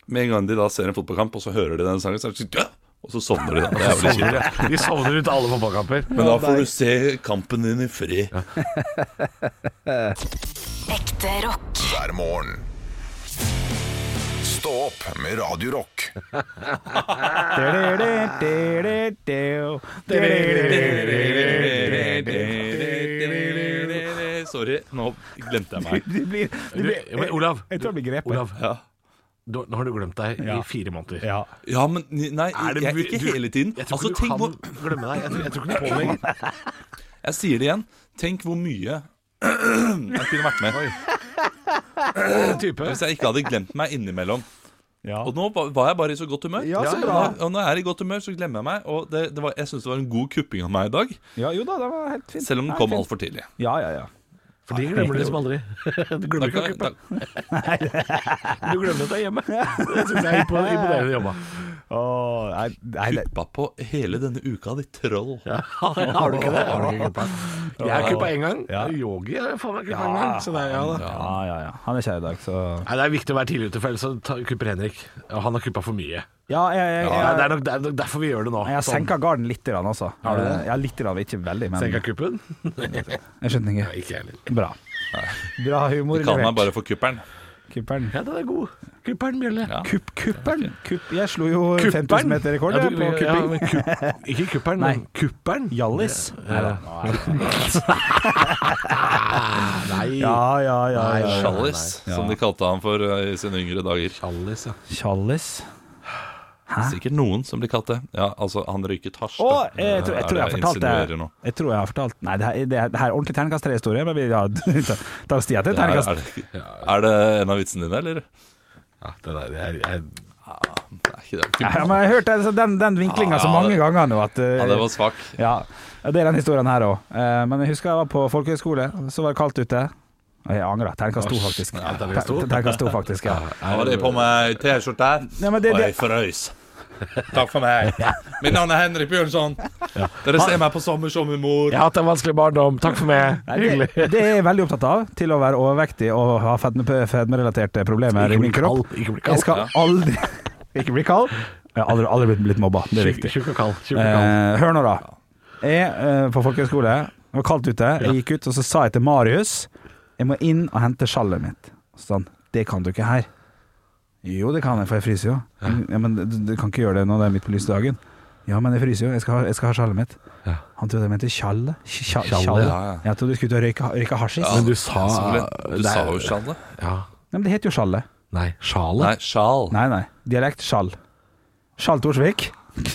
Speaker 5: Med en gang de da ser en fotballkamp, og så hører de den sangen, så er det sånn «Gah!» og så sovner de. da. Det er veldig
Speaker 4: Sovner,
Speaker 5: kjipt.
Speaker 4: ja. De sovner ut alle fotballkamper.
Speaker 5: Men da får du se kampen din i fred.
Speaker 2: Ekte rock.
Speaker 1: hver morgen. Stå opp med Radio Rock.
Speaker 5: Sorry, nå glemte jeg meg.
Speaker 6: Det blir, det blir,
Speaker 4: Men Olav,
Speaker 6: jeg tror jeg blir grepet.
Speaker 4: Olav
Speaker 5: Ja.
Speaker 4: du, nå har du glemt deg i
Speaker 6: Ja.
Speaker 4: fire måneder.
Speaker 6: Ja.
Speaker 5: Ja, men nei,
Speaker 4: Er det
Speaker 5: jeg,
Speaker 4: mu-
Speaker 5: ikke
Speaker 4: du-
Speaker 5: hele tiden.
Speaker 4: Jeg tror
Speaker 5: Altså,
Speaker 4: ikke du
Speaker 5: tenk hvor,
Speaker 4: kan glemme deg. Jeg tror, jeg tror ikke du tåler lenger.
Speaker 5: jeg sier det igjen. Tenk hvor mye jeg kunne vært med
Speaker 4: Type.
Speaker 5: hvis jeg ikke hadde glemt meg innimellom.
Speaker 6: Ja.
Speaker 5: Og nå ba- var jeg bare i så godt humør.
Speaker 6: Ja, så
Speaker 5: Og
Speaker 6: bra.
Speaker 5: nå- Og når jeg er i godt humør, så glemmer jeg meg. Og det, det var, jeg syns det var en god kupping av meg i dag,
Speaker 6: Ja, jo da, det var helt fint.
Speaker 5: selv om den
Speaker 6: Nei,
Speaker 5: kom
Speaker 6: fint.
Speaker 5: altfor tidlig.
Speaker 6: Ja, ja, ja.
Speaker 4: For de glemmer det som aldri. Du
Speaker 5: Da,
Speaker 4: glemmer ikke å
Speaker 5: kan-
Speaker 4: klippe.
Speaker 5: da,
Speaker 4: Du glemmer at du er hjemme. Det syns jeg er impo- imponerende jobba.
Speaker 6: Åh, nei, nei, det-
Speaker 5: kuppa på hele denne uka, ditt troll.
Speaker 4: Har du ikke det? Har du ikke kuppa? Jeg har kuppa én gang.
Speaker 6: Ja.
Speaker 4: Yogi har faen meg kuppa én gang. Så det, er- ja, da.
Speaker 6: ja, ja, ja. Han er ikke her i dag, så
Speaker 4: Nei, det er viktig å være tidlig ute, for ellers så ta- kupper Henrik. Og han har kuppa for mye.
Speaker 6: Ja, jeg, jeg,
Speaker 4: Ja, det,
Speaker 6: jeg, jeg,
Speaker 4: er nok, det er nok derfor vi gjør det nå.
Speaker 6: har senka garden litt, grann, altså.
Speaker 4: Har du det?
Speaker 6: Ja, litt, grann, ikke veldig, men
Speaker 4: Senka Sånn, kuppen?
Speaker 6: jeg skjønner ikke.
Speaker 4: Ikke jeg heller.
Speaker 6: Bra. Bra humor
Speaker 5: Kall meg
Speaker 6: levert.
Speaker 5: bare for kupperen.
Speaker 6: Kupperen.
Speaker 4: Ja, den er god. Kupperen bjelle.
Speaker 5: Ja.
Speaker 6: Kupp, kupperen. Kupp, jeg slo jo
Speaker 4: Kupperen?
Speaker 6: 5000 meter rekord
Speaker 4: Ja,
Speaker 6: jeg,
Speaker 4: du-
Speaker 6: på
Speaker 4: ja,
Speaker 6: kupping.
Speaker 4: men kupp- ikke kupperen, men kupperen.
Speaker 6: Hjallis.
Speaker 4: Ja. Nei.
Speaker 6: Ja, ja, ja. ja.
Speaker 5: Sjallis, som de kalte han for eh, i sine yngre dager.
Speaker 4: Alice, ja.
Speaker 6: Tjallis.
Speaker 5: Sikkert noen som blir kalt det. Ja, altså, han røyket hasj.
Speaker 6: Å, eh,
Speaker 5: da.
Speaker 6: jeg, tror, jeg tror jeg
Speaker 5: Er
Speaker 6: har
Speaker 5: det
Speaker 6: fortalt
Speaker 5: insinuerer
Speaker 6: det.
Speaker 5: nå?
Speaker 6: Jeg tror jeg har fortalt Nei, det her, det her- det her er ordentlig terningkast tre-historie, men vi ja, tar stia til
Speaker 5: Er,
Speaker 6: terningkast
Speaker 5: er, det, er det en av vitsene dine, eller?
Speaker 4: Den er, jeg, jeg,
Speaker 5: Nei, ikke det.
Speaker 6: Ja, men jeg har hørt den, den, den vinklinga så
Speaker 5: Ah, Ja,
Speaker 6: mange
Speaker 5: det-
Speaker 6: ganger nå at eh,
Speaker 5: Ja, det var svak.
Speaker 6: ja, det er den historien her òg. men jeg husker jeg var på folkehøyskole, så var det kaldt ute. Og jeg angrer. Terningkast to, faktisk.
Speaker 4: ja, terningkast to.
Speaker 6: Ter- Terningkast to, faktisk, ja.
Speaker 5: Har de på meg T-skjorte her?
Speaker 6: Nei, men det-
Speaker 5: og jeg
Speaker 6: det-
Speaker 5: frøys. Takk for meg. Mitt navn er Henrik Bjørnson. Dere ser meg på sommer som min mor.
Speaker 4: jeg har hatt en vanskelig barndom. Takk for meg. Hyggelig.
Speaker 6: Det er jeg veldig opptatt av, til å være overvektig og ha fedme, fedmerelaterte problemer i min kropp.
Speaker 4: Ikke bli
Speaker 6: Jeg
Speaker 4: kald.
Speaker 6: skal aldri Ikke bli kald. Jeg har aldri, aldri blitt, blitt mobba, det er
Speaker 4: Tjukk
Speaker 6: viktig.
Speaker 4: tjukk og kald. Tjukk og kald.
Speaker 6: Eh, hør nå, da. Jeg eh, på folkehøyskole, det var kaldt ute, jeg gikk ut og så sa jeg til Marius Jeg må inn og hente sjallet mitt. Så sa han det kan du ikke her. Jo, det kan jeg, for jeg fryser jo. Ja, men du, du kan ikke gjøre det nå, det er midt på lysdagen. Ja, men jeg fryser jo, jeg skal ha, jeg skal ha sjallet mitt. Han trodde jeg mente tjalle. Tja-
Speaker 4: Tjalle,
Speaker 6: tjalle.
Speaker 4: ja, ja.
Speaker 6: Jeg trodde du skulle ut og røyke, røyke hasjis.
Speaker 4: Men du sa
Speaker 5: selvfølgelig. Du
Speaker 4: det er-
Speaker 5: sa jo sjalle.
Speaker 4: Ja.
Speaker 6: Nei, men det heter jo sjalle.
Speaker 4: Nei, sjalet?
Speaker 5: Nei, sjal.
Speaker 6: Nei, nei. Dialekt sjall. Sjall Torsvik.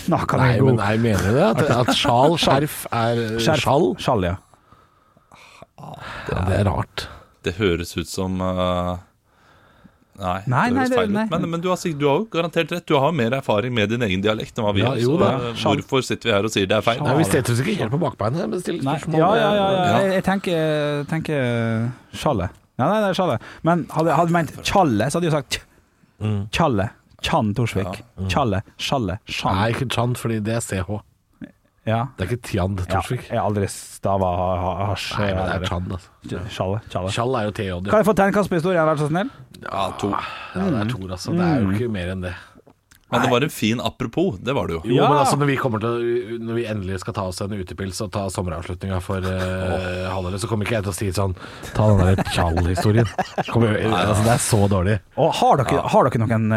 Speaker 6: Knakka
Speaker 4: Nei,
Speaker 6: den
Speaker 4: men
Speaker 6: god.
Speaker 4: nei, mener du det? At, at sjal, skjerf er
Speaker 6: Skjerf.
Speaker 4: sjal?
Speaker 6: Sjall, ja.
Speaker 4: Ja, det er rart.
Speaker 5: Det høres ut som eh, Nei,
Speaker 6: Nei,
Speaker 5: det
Speaker 6: nei,
Speaker 5: høres
Speaker 6: det-
Speaker 5: feil
Speaker 6: nei.
Speaker 5: ut. Men, men du, har, sikkert- du har jo garantert rett. Du har mer erfaring med din egen dialekt enn hva vi
Speaker 4: Ja,
Speaker 5: har.
Speaker 4: jo
Speaker 5: så,
Speaker 4: da.
Speaker 5: eh, hvorfor sitter vi her og sier det er feil?
Speaker 4: Nei, vi setter oss ikke helt på bakbeinet, men stiller spørsmål.
Speaker 6: Ja, ja, ja, eh, ja.
Speaker 5: Ja.
Speaker 6: Jeg, jeg tenker, tenker sjalle. Ja, nei, det er sjalle. Men hadde hadde jeg ment tjalle, så hadde jeg jo sagt tj-
Speaker 4: Mm.
Speaker 6: tjalle. Tjann Torsvik. Tjalle. Sjalle. Sjann.
Speaker 4: Nei, ikke Chan, fordi det er CH.
Speaker 6: Ja.
Speaker 4: Det er ikke Tjand
Speaker 6: ja.
Speaker 4: Torsvik.
Speaker 6: Jeg har aldri stava ha- ha- hasj. eh,
Speaker 4: Nei, men det er Chan, altså.
Speaker 6: Sjalle. Sjalle.
Speaker 4: Tjall er jo TJ.
Speaker 6: Kan jeg få terningkast-historien, vær så snill?
Speaker 5: Ja, to.
Speaker 4: Ja, det er Tor, altså. Det er jo ikke mer enn det.
Speaker 5: Men det var en fin apropos. Det var det jo.
Speaker 4: Jo,
Speaker 6: Ja.
Speaker 4: men altså når vi, kommer til, når vi endelig skal ta oss en utepils og ta sommeravslutninga for uh, halvåret, så kommer ikke jeg til å si sånn Ta den der Tjall-historien. Kommer- Altså, det er så dårlig.
Speaker 6: Og har dere, har dere noen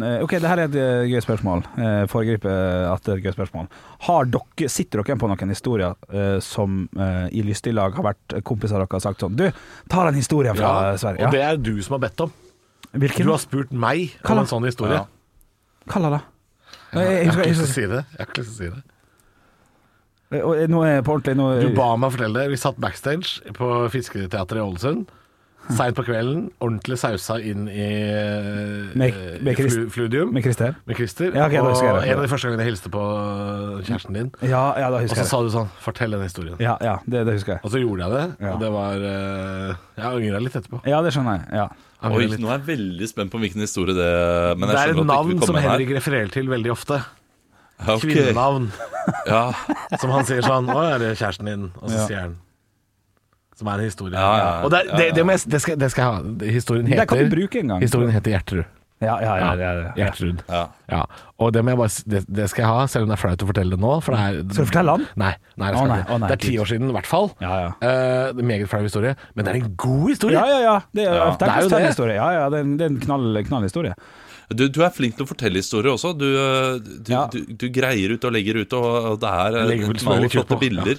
Speaker 6: eh, eh, Ok, det her er et eh, gøy spørsmål. Eh, Foregripe at det er et gøy spørsmål. Har dere, sitter dere på noen historier eh, som eh, i lystig lag har vært kompiser dere har sagt sånn Du, ta den historien fra eh, Sverige.
Speaker 4: Og det
Speaker 6: Ja.
Speaker 4: er du som har bedt om. Du
Speaker 6: Hvilken?
Speaker 4: har spurt meg om en sånn historie.
Speaker 6: Kalla det. Nå, jeg, jeg
Speaker 4: Jeg har
Speaker 6: husker,
Speaker 4: ikke
Speaker 6: jeg
Speaker 4: lyst til å
Speaker 6: husker,
Speaker 4: si det. Jeg har ikke lyst til å si det.
Speaker 6: og, eh, nå er jeg på ordentlig nå,
Speaker 4: Du ba meg fortelle det. Vi satt backstage på Fisketeatret i Ålesund. Seint på kvelden, ordentlig sausa inn i,
Speaker 6: Med-
Speaker 4: eh,
Speaker 6: med Chris-
Speaker 4: flu- fludium
Speaker 6: med Christer.
Speaker 4: med Christer.
Speaker 6: Ja, ok, da
Speaker 4: og
Speaker 6: husker jeg det.
Speaker 4: en av de første gangene jeg hilste på kjæresten din.
Speaker 6: Ja, ja, da
Speaker 4: Og så
Speaker 6: husker jeg det.
Speaker 4: sa du sånn 'Fortell den historien'.
Speaker 6: Ja, ja, det, det husker jeg.
Speaker 4: Og så gjorde jeg det,
Speaker 6: Ja.
Speaker 4: og det var eh, Jeg angra litt etterpå.
Speaker 6: Ja, det skjønner jeg. Ja.
Speaker 4: Jeg
Speaker 5: Oi,
Speaker 4: angrer litt.
Speaker 5: nå er jeg veldig spent på hvilken historie det Men
Speaker 4: Det er
Speaker 5: jeg
Speaker 4: et
Speaker 5: skjønner at du
Speaker 4: navn
Speaker 5: ikke vil
Speaker 4: som
Speaker 5: komme her.
Speaker 4: Henrik refererer til veldig ofte.
Speaker 5: Ja, ok.
Speaker 4: Kvinnenavn.
Speaker 5: Ja,
Speaker 4: Som han sier sånn 'Å, er det kjæresten din?' Og så sier han Som er en historie.
Speaker 5: Ja, ja, ja.
Speaker 4: Og det, det, det, må jeg, det, skal, det skal jeg ha. Historien
Speaker 6: Det kan du
Speaker 4: heter,
Speaker 6: bruke en gang.
Speaker 4: historien heter Gjertrud.
Speaker 6: Ja, ja, ja, ja, ja, ja.
Speaker 4: Gjertrud.
Speaker 5: ja.
Speaker 4: Ja. Og det, må jeg bare, s- det, det skal jeg ha, selv om det er flaut å fortelle det nå. For det er,
Speaker 6: Skal du fortelle han?
Speaker 4: Nei. nei, det,
Speaker 6: Å,
Speaker 4: skal
Speaker 6: nei,
Speaker 4: jeg ikke.
Speaker 6: å, nei,
Speaker 4: det er ti
Speaker 6: Gud.
Speaker 4: år siden, i hvert fall.
Speaker 6: Ja, ja.
Speaker 4: Eh, det er en meget flau historie, men det er en god historie.
Speaker 6: Ja, ja, ja. Det er,
Speaker 4: det er jo
Speaker 6: det.
Speaker 4: det.
Speaker 6: Historie. Ja, ja, det er en, det er en knall, knallhistorie.
Speaker 5: Du, du er flink til å fortelle historier også. Du, eh, du,
Speaker 6: Ja.
Speaker 5: du, du greier ut og legger ut, og og det er
Speaker 4: Legger vel smør
Speaker 5: eh,
Speaker 4: litt
Speaker 5: mange
Speaker 4: tjukt
Speaker 5: flotte
Speaker 4: på.
Speaker 5: bilder.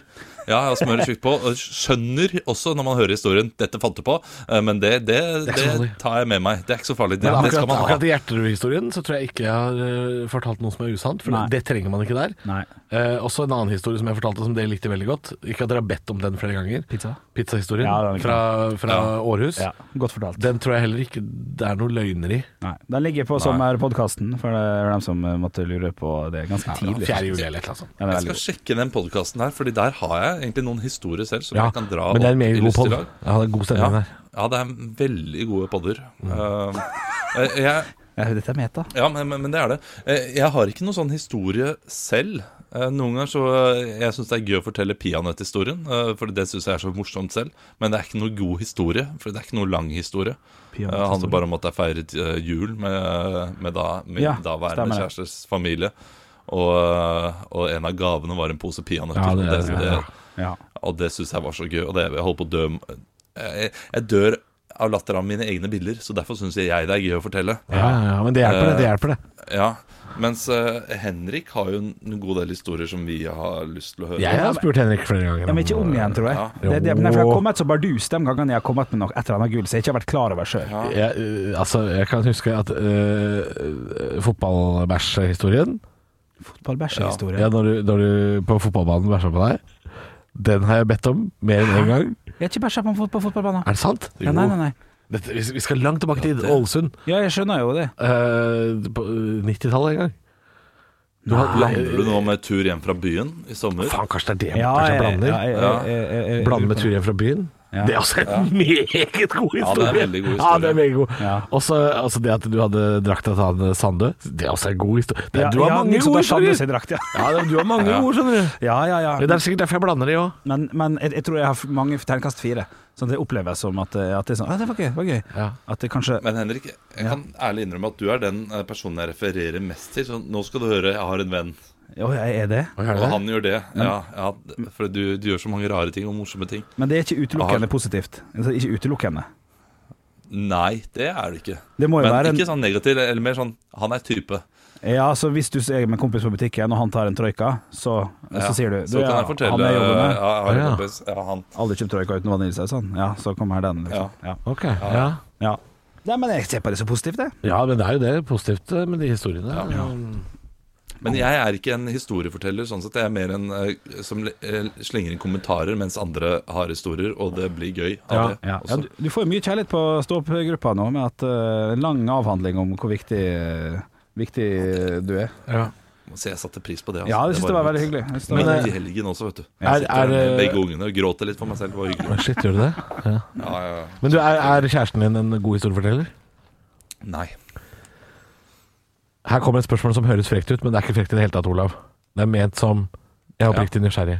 Speaker 5: Ja, ja smører tjukt på. Og Skjønner også når man hører historien 'dette fant du på', eh, men det, det,
Speaker 4: Det er ikke så
Speaker 5: det
Speaker 4: farlig.
Speaker 5: tar jeg med meg. Det er ikke så farlig. Det,
Speaker 4: Men
Speaker 5: det skal
Speaker 4: akkurat,
Speaker 5: man ha.
Speaker 4: akkurat i Gjerterud-historien så tror jeg ikke jeg har eh, fortalt noe som er usant, for
Speaker 6: Nei.
Speaker 4: det trenger man ikke der.
Speaker 6: Nei.
Speaker 4: Eh, også en annen historie som jeg fortalte som dere likte veldig godt. Ikke at dere har bedt om den flere ganger.
Speaker 6: Pizza?
Speaker 4: Pizzahistorien
Speaker 6: Ja, den er
Speaker 4: fra, fra Århus.
Speaker 6: Ja, godt fortalt.
Speaker 4: Den tror jeg heller ikke det er noe løgner i.
Speaker 6: Nei, Den ligger på sommerpodkasten, for det er dem som eh, måtte lure på det ganske tidlig.
Speaker 4: 4. juli eller et eller annet sånt.
Speaker 6: Ja, det er
Speaker 5: Jeg
Speaker 6: veldig
Speaker 5: skal
Speaker 6: god.
Speaker 5: sjekke den podkasten her, Fordi der har jeg egentlig noen historier selv som
Speaker 4: Ja,
Speaker 5: jeg kan dra
Speaker 4: men det er en
Speaker 5: opp i
Speaker 4: meget god
Speaker 5: lystig
Speaker 4: podd.
Speaker 5: lag.
Speaker 4: Ja, det er god stemning
Speaker 5: Ja.
Speaker 4: der.
Speaker 5: ja, det er veldig gode podder.
Speaker 4: Mm.
Speaker 5: Eh, eh, jeg,
Speaker 6: Ja, Dette er meta.
Speaker 5: ja, men, men, men det er det. Eh, jeg har ikke noen sånn historie selv. Eh, noen ganger så eh, Jeg syns det er gøy å fortelle peanøtthistorien, uh, for det syns jeg er så morsomt selv. Men det er ikke noe god historie, for det er ikke noe lang historie. Eh, Det handler bare om at jeg feiret eh, jul med, med, da, med
Speaker 6: Ja,
Speaker 5: daværende
Speaker 6: stemmer det.
Speaker 5: kjærestes familie. Og, eh, og en av gavene var en pose peanøtter.
Speaker 4: Ja,
Speaker 5: Og
Speaker 4: det er-
Speaker 5: det,
Speaker 4: ja.
Speaker 5: det,
Speaker 6: Ja.
Speaker 5: og det syns jeg var så gøy. Og det, jeg holder på å dø jeg, jeg dør av latter av mine egne bilder, så derfor syns jeg det er gøy å fortelle.
Speaker 4: Ja, ja, ja, men det hjelper, det. det hjelper det
Speaker 5: Ja, Mens eh, Henrik har jo en god del historier som vi har lyst til å høre.
Speaker 4: Jeg har spurt Henrik flere ganger.
Speaker 6: Ja, men ikke om igjen, tror jeg. Det, det, men jeg har kommet så bardus de gangene jeg har kommet med noe et eller annet gull som jeg ikke har vært klar over sjøl.
Speaker 5: Ja.
Speaker 4: Jeg, eh, altså, jeg kan huske at uh, fotballbæsjehistorien
Speaker 6: Fotballbæsjehistorie.
Speaker 4: ja, når, du- når du på fotballbanen bæsja på deg, den har jeg bedt om mer enn én gang.
Speaker 6: Jeg har ikke bæsja på, på fotballbanen.
Speaker 4: Er det sant?
Speaker 6: Ja, nei, nei, nei.
Speaker 4: Dette, vi, vi skal langt tilbake til Ålesund.
Speaker 6: Ja, jeg skjønner jo det.
Speaker 4: eh, på eh, 90-tallet en gang. Du har-
Speaker 5: Blander du nå med tur hjem fra byen i sommer?
Speaker 4: Faen, kanskje det er det
Speaker 6: Ja,
Speaker 4: kanskje jeg
Speaker 6: jeg, jeg,
Speaker 4: blander?
Speaker 6: jeg,
Speaker 5: Ja.
Speaker 6: jeg, jeg, jeg,
Speaker 4: Blande med tur hjem fra byen.
Speaker 6: Ja.
Speaker 4: Det er også en meget god historie.
Speaker 5: Ja, det er en veldig god
Speaker 4: Ja, det er
Speaker 5: historie.
Speaker 4: meget god.
Speaker 6: Ja.
Speaker 4: Også, altså det at du hadde drakta til han Sandø, det er også en god historie. Det,
Speaker 6: Ja,
Speaker 4: du har
Speaker 6: ja,
Speaker 4: mange
Speaker 6: Nils
Speaker 4: gode
Speaker 6: Ottar Sande
Speaker 4: historier.
Speaker 6: sin drakt, ja.
Speaker 4: Ja, det- du har mange gode, skjønner du.
Speaker 6: ja, ja, ja.
Speaker 4: Det er sikkert derfor jeg blander de òg.
Speaker 6: Men, men jeg, jeg tror jeg har f- mange terningkast fire. Så det oppleves som at, eh, at det er sånn Å, det var gøy. Det var gøy.
Speaker 4: Ja.
Speaker 6: At det kanskje
Speaker 5: Men Henrik, jeg kan ærlig innrømme at du er den eh, personen jeg refererer mest til. Så nå skal du høre 'Jeg har en venn',
Speaker 6: Å, jeg er det?
Speaker 5: og han gjør det. Ja, ja, for du, du gjør så mange rare ting og morsomme ting.
Speaker 6: Men det er ikke utelukkende
Speaker 5: Aha.
Speaker 6: positivt. Altså, ikke utelukkende.
Speaker 5: Nei, det er det ikke.
Speaker 6: Det må jo
Speaker 5: Men
Speaker 6: være en-
Speaker 5: ikke sånn negativ, eller mer sånn 'han er type'.
Speaker 6: Ja, så hvis du er med en kompis på butikken, og han tar en troika, så, så sier du, du
Speaker 5: Så kan jeg fortelle eh,
Speaker 6: Han er jobben med.
Speaker 5: ja, jeg har en
Speaker 6: Ja.
Speaker 5: kompis. Ja, han.
Speaker 6: Aldri kjøpt troika uten vaniljesaus, han. sånn. Ja, så kommer den, liksom. Ja.
Speaker 4: ja. ja.
Speaker 6: Ja. Nei, men jeg ser på det så positivt, jeg.
Speaker 4: Ja, men det er jo det positivt eh, med de historiene.
Speaker 5: Men jeg er ikke en historieforteller, sånn sett. Jeg er mer en eh, som eh, slenger inn kommentarer mens andre har historier, og det blir gøy av
Speaker 6: Ja,
Speaker 5: det.
Speaker 6: ja.
Speaker 5: også.
Speaker 6: ja, du, du får jo mye kjærlighet på stå-opp-gruppa nå, med at eh, en lang avhandling om hvor viktig, viktig du er.
Speaker 5: Så jeg satte pris på det.
Speaker 6: Ja, det synes jeg var veldig hyggelig. eh, Jeg synes det var
Speaker 5: Men eh,
Speaker 6: veldig-
Speaker 5: i helgen også, vet du.
Speaker 4: Er-
Speaker 5: Jeg sitter
Speaker 4: er
Speaker 5: med
Speaker 4: det-
Speaker 5: begge ungene og gråter litt for meg selv. Det var hyggelig.
Speaker 4: Shit, gjør du det? Ja.
Speaker 5: Ja, ja, ja.
Speaker 4: Men du, er, er kjæresten din en god historieforteller?
Speaker 5: Nei.
Speaker 4: Her kommer et spørsmål som høres frekt ut, men det er ikke frekt i det hele tatt, Olav. Det er ment som Jeg er oppriktig nysgjerrig.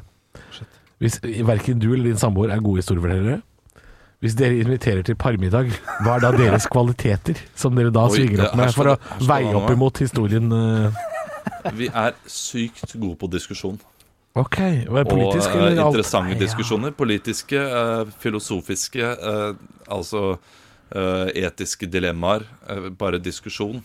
Speaker 4: Hvis verken du eller din samboer er gode historiefortellere, hvis dere inviterer til parmiddag, hva er da deres kvaliteter som dere da
Speaker 5: Oi,
Speaker 4: svinger
Speaker 5: det-
Speaker 4: opp
Speaker 5: her
Speaker 4: med
Speaker 5: skal
Speaker 4: for å
Speaker 5: det- her skal
Speaker 4: veie
Speaker 5: det
Speaker 4: opp
Speaker 5: være.
Speaker 4: imot historien? eh?
Speaker 5: Vi er sykt gode på diskusjon.
Speaker 4: Ok, hva er politisk
Speaker 5: og eh,
Speaker 4: eller alt?
Speaker 5: interessante
Speaker 4: Nei, ja.
Speaker 5: diskusjoner. Politiske, eh, filosofiske, eh, altså eh, etiske dilemmaer. eh, bare diskusjon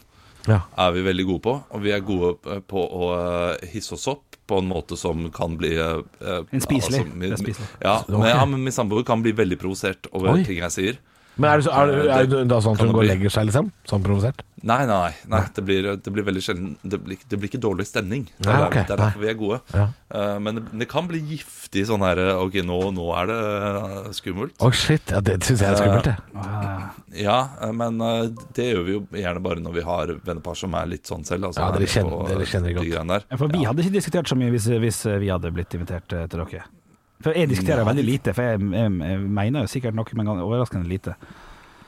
Speaker 4: Ja.
Speaker 5: er vi veldig gode på. Og vi er gode eh, på å eh, hisse oss opp på en måte som kan bli eh, eh,
Speaker 6: En spiselig.
Speaker 5: altså, min-
Speaker 6: Det er spiselig.
Speaker 5: Ja,
Speaker 4: Ok.
Speaker 5: men, ja, men min samboer kan bli veldig provosert over
Speaker 4: Oi.
Speaker 5: ting jeg sier.
Speaker 4: Men er det, så, er, det- er det da sånn at hun
Speaker 5: Kan
Speaker 4: går
Speaker 5: det
Speaker 4: og
Speaker 5: bli?
Speaker 4: legger seg, liksom? Sånn provosert?
Speaker 5: Nei, nei, nei, nei det, blir, det blir veldig sjelden Det blir, det blir ikke dårlig stemning. Det er,
Speaker 4: Nei, ok,
Speaker 5: det er derfor vi er gode. Eh, men det, det kan bli giftig sånn her eh, Ok, nå, nå er det eh, skummelt.
Speaker 4: Å, shit. Ja, det syns jeg er skummelt, det.
Speaker 5: Ja, eh, men eh, det gjør vi jo gjerne bare når vi har vennepar som er litt sånn selv. Altså,
Speaker 4: Ja, dere
Speaker 5: er med
Speaker 4: kjenner- dere kjenner
Speaker 5: de
Speaker 4: godt.
Speaker 5: greiene der.
Speaker 6: Ja, For vi hadde ikke diskutert så mye hvis, hvis vi hadde blitt invitert eh, til dere. For jeg diskuterer
Speaker 5: Nei.
Speaker 6: veldig lite, for jeg, jeg, jeg mener jo sikkert noe, men overraskende lite.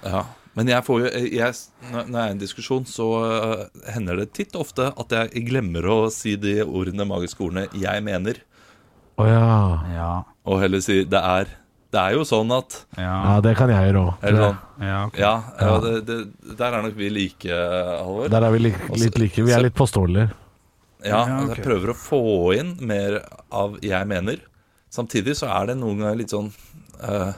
Speaker 5: Ja, men jeg får jo eh, jeg, Når når jeg er i en diskusjon, så øh, hender det titt ofte at jeg glemmer å si de ordene magiske ordene jeg mener,
Speaker 4: Å ja.
Speaker 6: Ja,
Speaker 5: og heller sier 'det er'. Det er jo sånn at
Speaker 6: ja,
Speaker 4: Ja, det kan jeg gjøre òg.
Speaker 5: Eller sånn.
Speaker 6: ja, ok.
Speaker 5: Ja, ja det, det, der er nok vi like, Halvor.
Speaker 4: Der er vi litt, litt like. Vi er litt påståelige.
Speaker 5: Ja, altså, jeg prøver å få inn mer av jeg mener. Samtidig så er det noen ganger litt sånn eh,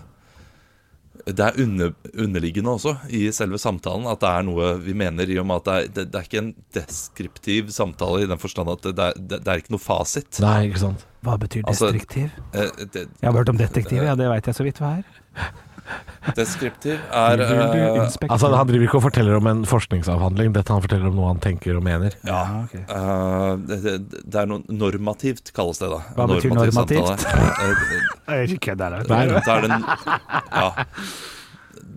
Speaker 5: Det er under, underliggende også i selve samtalen at det er noe vi mener, i og med at det er, det, det er ikke en deskriptiv samtale i den forstand at det, det, er- det, det er ikke noe fasit.
Speaker 4: Nei, ikke sant.
Speaker 6: Hva betyr
Speaker 5: Altså-
Speaker 6: destruktiv?
Speaker 5: Eh, det,
Speaker 6: Jeg har hørt om detektiv, ja, det veit jeg så vidt hva er.
Speaker 5: deskriptiv er eh,
Speaker 4: Altså, Han driver ikke og forteller om en forskningsavhandling. Dette han forteller om noe han tenker og mener.
Speaker 5: Ja. eh, det, det, det er noe normativt, kalles det da.
Speaker 6: Hva betyr
Speaker 5: Normativ
Speaker 6: normativt?
Speaker 5: samtale. Eh,
Speaker 6: Jeg ikke kødd her.
Speaker 5: Da er det en, ja,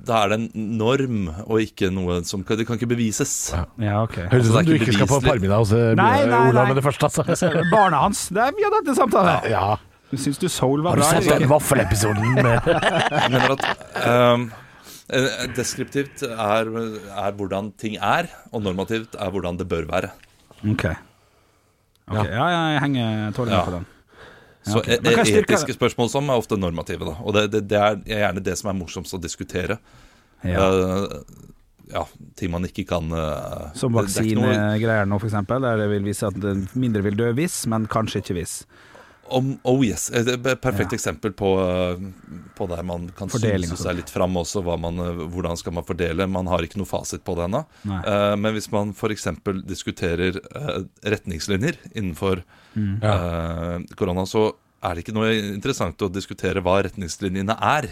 Speaker 5: da er det en norm, og ikke noe som kan, Det kan ikke bevises.
Speaker 6: Ja, ok.
Speaker 4: Høres ut som
Speaker 5: Altså,
Speaker 4: sånn du
Speaker 5: det er ikke
Speaker 4: ikke skal på
Speaker 5: beviselig.
Speaker 4: parmiddag hos eh,
Speaker 6: Nei, nei,
Speaker 4: Olav
Speaker 6: nei.
Speaker 4: med det første, altså.
Speaker 6: Barna hans. Det er, vi hadde hatt en samtale.
Speaker 4: Ja.
Speaker 6: Du syns du Soul var
Speaker 4: Har du
Speaker 6: bra?
Speaker 4: sett
Speaker 6: eller
Speaker 4: den
Speaker 6: ikke?
Speaker 4: vaffelepisoden med
Speaker 5: Jeg mener at ehm, eh, deskriptivt er, er hvordan ting er, og normativt er hvordan det bør være.
Speaker 6: Ok. Ok, Ja, ja, jeg henger tålelig
Speaker 5: Ja.
Speaker 6: med på den.
Speaker 5: Så
Speaker 6: ok. Men
Speaker 5: e-
Speaker 6: kan jeg styrke
Speaker 5: etiske
Speaker 6: det?
Speaker 5: spørsmål som er ofte normative, da. Og det, det, det er gjerne det som er morsomst å diskutere.
Speaker 6: Ja.
Speaker 5: Eh, ja, ting man ikke kan eh,
Speaker 6: Som
Speaker 5: det- det er ikke noe-
Speaker 6: vaksinegreier nå, f.eks., der det vil vise at den mindre vil dø hvis, men kanskje ikke hvis.
Speaker 5: Om, oh yes, Eh, det er et perfekt
Speaker 6: Ja.
Speaker 5: eksempel på, eh, på der man kan
Speaker 6: Fordeling og
Speaker 5: synse seg litt fram også. Hva man, eh, hvordan skal man fordele? Man har ikke noe fasit på det ennå.
Speaker 6: Nei.
Speaker 5: Eh, men hvis man f.eks. diskuterer eh, retningslinjer innenfor
Speaker 6: Mm.
Speaker 5: eh, korona, så er det ikke noe interessant å diskutere hva retningslinjene er.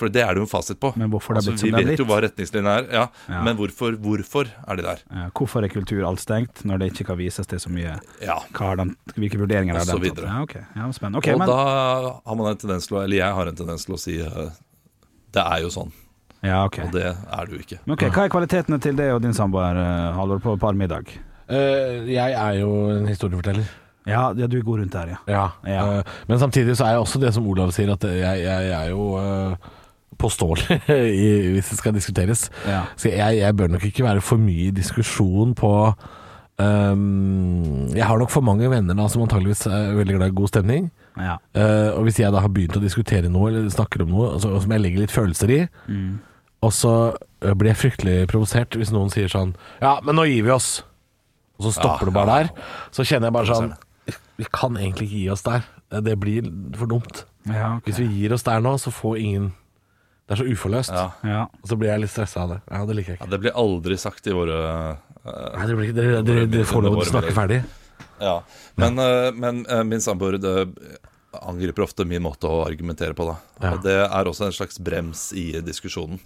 Speaker 5: For det er det jo en fasit på. Altså,
Speaker 6: Men hvorfor det er blitt som
Speaker 5: vi
Speaker 6: det er
Speaker 5: vet jo
Speaker 6: blitt.
Speaker 5: hva retningslinjene er, ja.
Speaker 6: Ja.
Speaker 5: men hvorfor, hvorfor er de der?
Speaker 6: Eh, Hvorfor er kultur alt stengt når det ikke kan vises til så mye?
Speaker 5: Ja.
Speaker 6: Hva har den, hvilke vurderinger
Speaker 5: Og
Speaker 6: har
Speaker 5: så
Speaker 6: den? tatt?
Speaker 5: videre.
Speaker 6: Ja, ok. ja, spennende. Ok,
Speaker 5: og
Speaker 6: men,
Speaker 5: da har man en tendens til å Eller jeg har en tendens til å si eh, det er jo sånn.
Speaker 6: ja, ok.
Speaker 5: Og det er det jo ikke.
Speaker 6: Men ok, Hva er kvalitetene til det og din samboer, eh, Halvor, på parmiddag?
Speaker 4: Eh, Jeg er jo en historieforteller.
Speaker 6: Ja, ja, du er god rundt der, ja.
Speaker 4: Ja.
Speaker 6: Ja.
Speaker 4: eh, Men samtidig så er jeg også det som Olav sier, at jeg, jeg er jo eh, påståelig i- hvis det skal diskuteres.
Speaker 6: Ja.
Speaker 4: Så jeg, jeg bør nok ikke være for mye i diskusjon på ehm, Jeg har nok for mange venner da som antageligvis er veldig glad i god stemning.
Speaker 6: ja.
Speaker 4: Eh, og hvis jeg da har begynt å diskutere noe, eller snakker om noe altså, som jeg legger litt følelser i,
Speaker 6: Mm.
Speaker 4: og så eh, blir jeg fryktelig provosert hvis noen sier sånn Ja, men nå gir vi oss. Og så stopper
Speaker 6: Ah,
Speaker 4: det bare der. Så kjenner jeg bare sånn Vi kan egentlig ikke gi oss der. Det blir for dumt.
Speaker 6: ja ok.
Speaker 4: Hvis vi gir oss der nå, så får ingen Det er så uforløst.
Speaker 6: Ja.
Speaker 4: Og så blir jeg litt stressa av det. Ja, Det liker jeg ikke.
Speaker 5: Ja, det blir aldri sagt i våre eh,
Speaker 4: Nei, det blir ikke- dere- dere- dere får lov til å snakke ferdig.
Speaker 5: Ja, Men, eh, men eh, min samboer det angriper ofte min måte å argumentere på, da.
Speaker 4: Ja.
Speaker 5: Og det er også en slags brems i diskusjonen.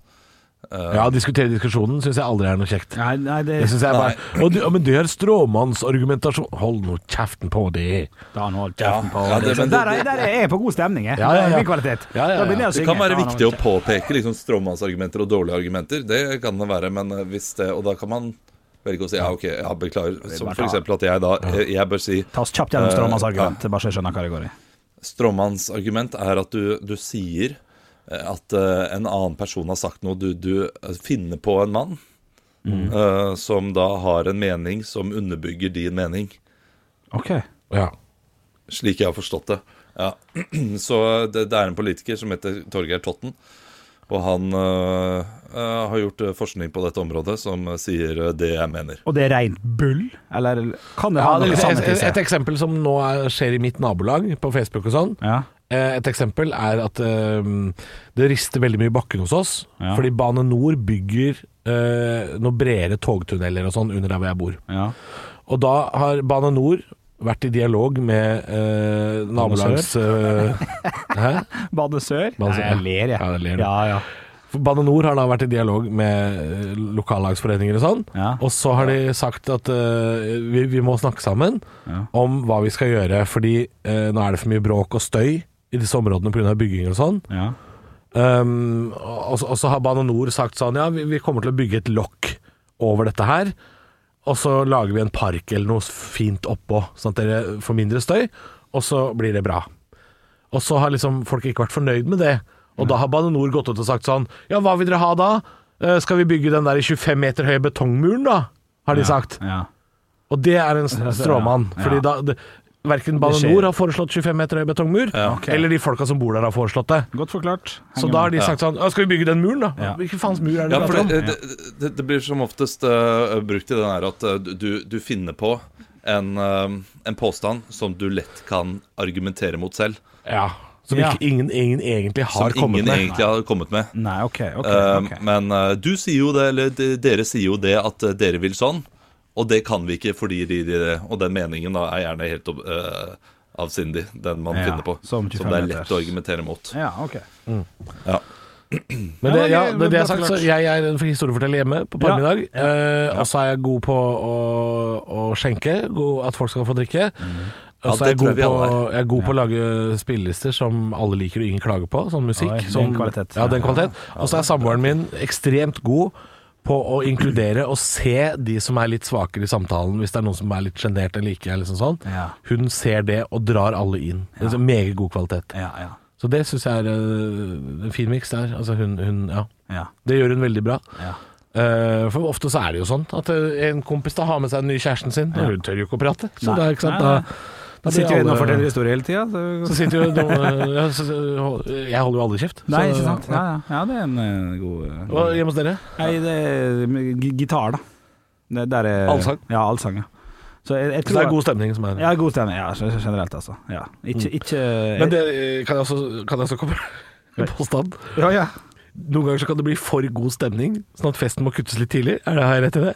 Speaker 5: Eh,
Speaker 4: Ja, å diskutere diskusjonen syns jeg aldri er noe kjekt.
Speaker 6: Nei, nei, det-
Speaker 4: det synes jeg bare,
Speaker 5: Nei.
Speaker 4: «Å, du, ja, Men det er stråmannsargumentasjon Hold nå kjeften på det!
Speaker 6: Da han holdt
Speaker 5: kjeften på Ja, det- det. men det-
Speaker 6: Der, er, der er jeg på god stemning, jeg.
Speaker 4: Ja, ja, ja.
Speaker 6: Min kvalitet.
Speaker 4: Ja, ja, ja.
Speaker 6: Da begynner jeg å
Speaker 5: Det
Speaker 6: synge.
Speaker 5: kan være
Speaker 6: Ja, nå-
Speaker 5: viktig å påpeke liksom, stråmannsargumenter og dårlige argumenter. Det kan det være, men eh, hvis det Og da kan man velge å si ja, OK, ja, beklager. Som for eksempel at jeg da Jeg, jeg bør si
Speaker 6: Ta oss kjapt gjennom
Speaker 5: eh,
Speaker 6: stråmannsargument, bare så jeg skjønner hva det går i.
Speaker 5: Stråmannsargument er at du, du sier eh, at eh, en annen person har sagt noe. Du, du eh, finner på en mann eh, som da har en mening som underbygger din mening.
Speaker 6: Ok.
Speaker 4: Ja.
Speaker 5: Slik jeg har forstått det. Ja. Så det, det er en politiker som heter Torgeir Totten. Og han øh, øh, har gjort øh, forskning på dette området som øh, sier øh, det jeg mener.
Speaker 6: Og det er rent bull? Eller kan det
Speaker 4: Ja,
Speaker 6: ha
Speaker 4: det
Speaker 6: noe
Speaker 4: er liksom
Speaker 6: sannhet i
Speaker 4: et, et
Speaker 6: seg?
Speaker 4: eksempel som nå er, skjer i mitt nabolag, på Facebook og sånn.
Speaker 6: Ja.
Speaker 4: Eh, Et eksempel er at eh, det rister veldig mye i bakken hos oss,
Speaker 6: Ja.
Speaker 4: fordi Bane Nor bygger eh, noen bredere togtunneler og sånn under der hvor jeg bor.
Speaker 6: Ja.
Speaker 4: Og da har Bane Nor vært i dialog med eh, nabolags... eh, hæ?
Speaker 6: Bane Sør?
Speaker 4: Bane
Speaker 6: Nei,
Speaker 4: Sør,
Speaker 6: jeg
Speaker 4: ja.
Speaker 6: ler, jeg.
Speaker 4: Ja, det ler du.
Speaker 6: ja, ja.
Speaker 4: For Bane Nor har da vært i dialog med eh, lokallagsforeninger og sånn,
Speaker 6: Ja.
Speaker 4: og så har de sagt at eh, vi, vi må snakke sammen
Speaker 6: Ja.
Speaker 4: om hva vi skal gjøre, fordi eh, nå er det for mye bråk og støy i disse områdene pga. bygging og sånn.
Speaker 6: Ja.
Speaker 4: Um, og, og så har Bane Nor sagt sånn Ja, vi, vi kommer til å bygge et lokk over dette her. Og så lager vi en park eller noe fint oppå, sånn at dere får mindre støy. Og så blir det bra. Og så har liksom folk ikke vært fornøyd med det. Og da har Bane Nor gått ut og sagt sånn Ja, hva vil dere ha da? Eh, Skal vi bygge den der 25 meter høye betongmuren, da? Har de sagt.
Speaker 6: ja.
Speaker 4: Og det er en s- stråmann.
Speaker 6: Ja.
Speaker 4: Fordi da det, Verken Bane
Speaker 6: skjer.
Speaker 4: Nor har foreslått 25 meter høy betongmur,
Speaker 6: ok.
Speaker 4: eller de folka som bor der, har foreslått det.
Speaker 6: Godt forklart.
Speaker 4: Så da har de sagt sånn «Ja, Skal vi bygge den muren, da?
Speaker 6: Ja.
Speaker 4: Hvilken faens mur er det
Speaker 5: Ja,
Speaker 4: vi
Speaker 5: for
Speaker 4: prater om?
Speaker 5: det, det, det, det blir som oftest øh, brukt i den her at øh, du, du finner på en, øh, en påstand som du lett kan argumentere mot selv.
Speaker 4: Ja. Som
Speaker 6: Ja.
Speaker 4: ikke, ingen, ingen egentlig har
Speaker 5: Som
Speaker 4: kommet
Speaker 5: ingen
Speaker 4: med.
Speaker 5: egentlig har kommet med.
Speaker 6: Nei, OK. ok,
Speaker 5: Eh,
Speaker 6: ok.
Speaker 5: Men eh, du sier jo det, eller de- dere sier jo det at eh, dere vil sånn, og det kan vi ikke fordi de, de Og den meningen da er gjerne helt opp- eh, avsindig, den man
Speaker 6: Ja,
Speaker 5: finner på.
Speaker 6: som
Speaker 5: Som,
Speaker 6: 25
Speaker 5: det er
Speaker 6: meters.
Speaker 5: lett å argumentere mot.
Speaker 6: Ja, OK.
Speaker 5: Ja.
Speaker 4: Men det, ja,
Speaker 6: Ja, det-
Speaker 4: det, det
Speaker 6: det
Speaker 4: er sagt, så
Speaker 6: forklart.
Speaker 4: jeg er en historieforteller hjemme på
Speaker 6: Ja.
Speaker 4: parmiddag. eh, Og så er jeg god på å, å skjenke, god, at folk skal få drikke. Og så
Speaker 5: Ja,
Speaker 4: er jeg
Speaker 5: det tror
Speaker 4: god,
Speaker 5: jeg vi
Speaker 4: på,
Speaker 5: alle er.
Speaker 4: jeg er god på å lage spillelister som alle liker og ingen klager på, sånn musikk.
Speaker 6: Oi, den
Speaker 4: som,
Speaker 6: kvalitet.
Speaker 4: Ja, den kvalitet. Og så er samboeren min ekstremt god på å inkludere og se de som er litt svakere i samtalen, hvis det er noen som er litt sjenert eller ikke. Eller sånn, sånn.
Speaker 6: Ja.
Speaker 4: Hun ser det og drar alle inn. Det er så Meget god kvalitet.
Speaker 6: Ja, ja.
Speaker 4: Så det syns jeg er eh, en fin miks der. Altså hun, hun, ja.
Speaker 6: ja,
Speaker 4: Det gjør hun veldig bra.
Speaker 6: ja.
Speaker 4: Eh, for ofte så er det jo sånn at eh, en kompis da har med seg den nye kjæresten sin, og hun tør jo ikke å prate. Så
Speaker 6: Nei.
Speaker 4: da, ikke sant,
Speaker 6: Nei, nei.
Speaker 4: da, da
Speaker 6: Da
Speaker 4: blir
Speaker 6: sitter vi inne og
Speaker 4: alle-
Speaker 6: forteller historier hele tida.
Speaker 4: så sitter jo de, eh, ja, så, så- Jeg holder jo aldri kjeft. så-
Speaker 6: Nei, ikke sant. Ja, ja. ja, det er en eh, god eh,
Speaker 4: Og hjemme hos dere?
Speaker 6: Nei, det er g- gitar, da. Det der er, eh,
Speaker 4: Allsang?
Speaker 6: Ja, allsang. Ja. Så jeg, jeg
Speaker 4: Så det
Speaker 6: tror
Speaker 4: er god stemning som er
Speaker 6: Ja, god stemning. Ja, så- så generelt, altså. Ja. Ikke, ikke
Speaker 4: Men det eh, kan jeg også, kan jeg også komme med en påstand.
Speaker 6: Ja, ja.
Speaker 4: Noen ganger så kan det bli for god stemning, sånn at festen må kuttes litt tidlig. Er det har jeg rett i det?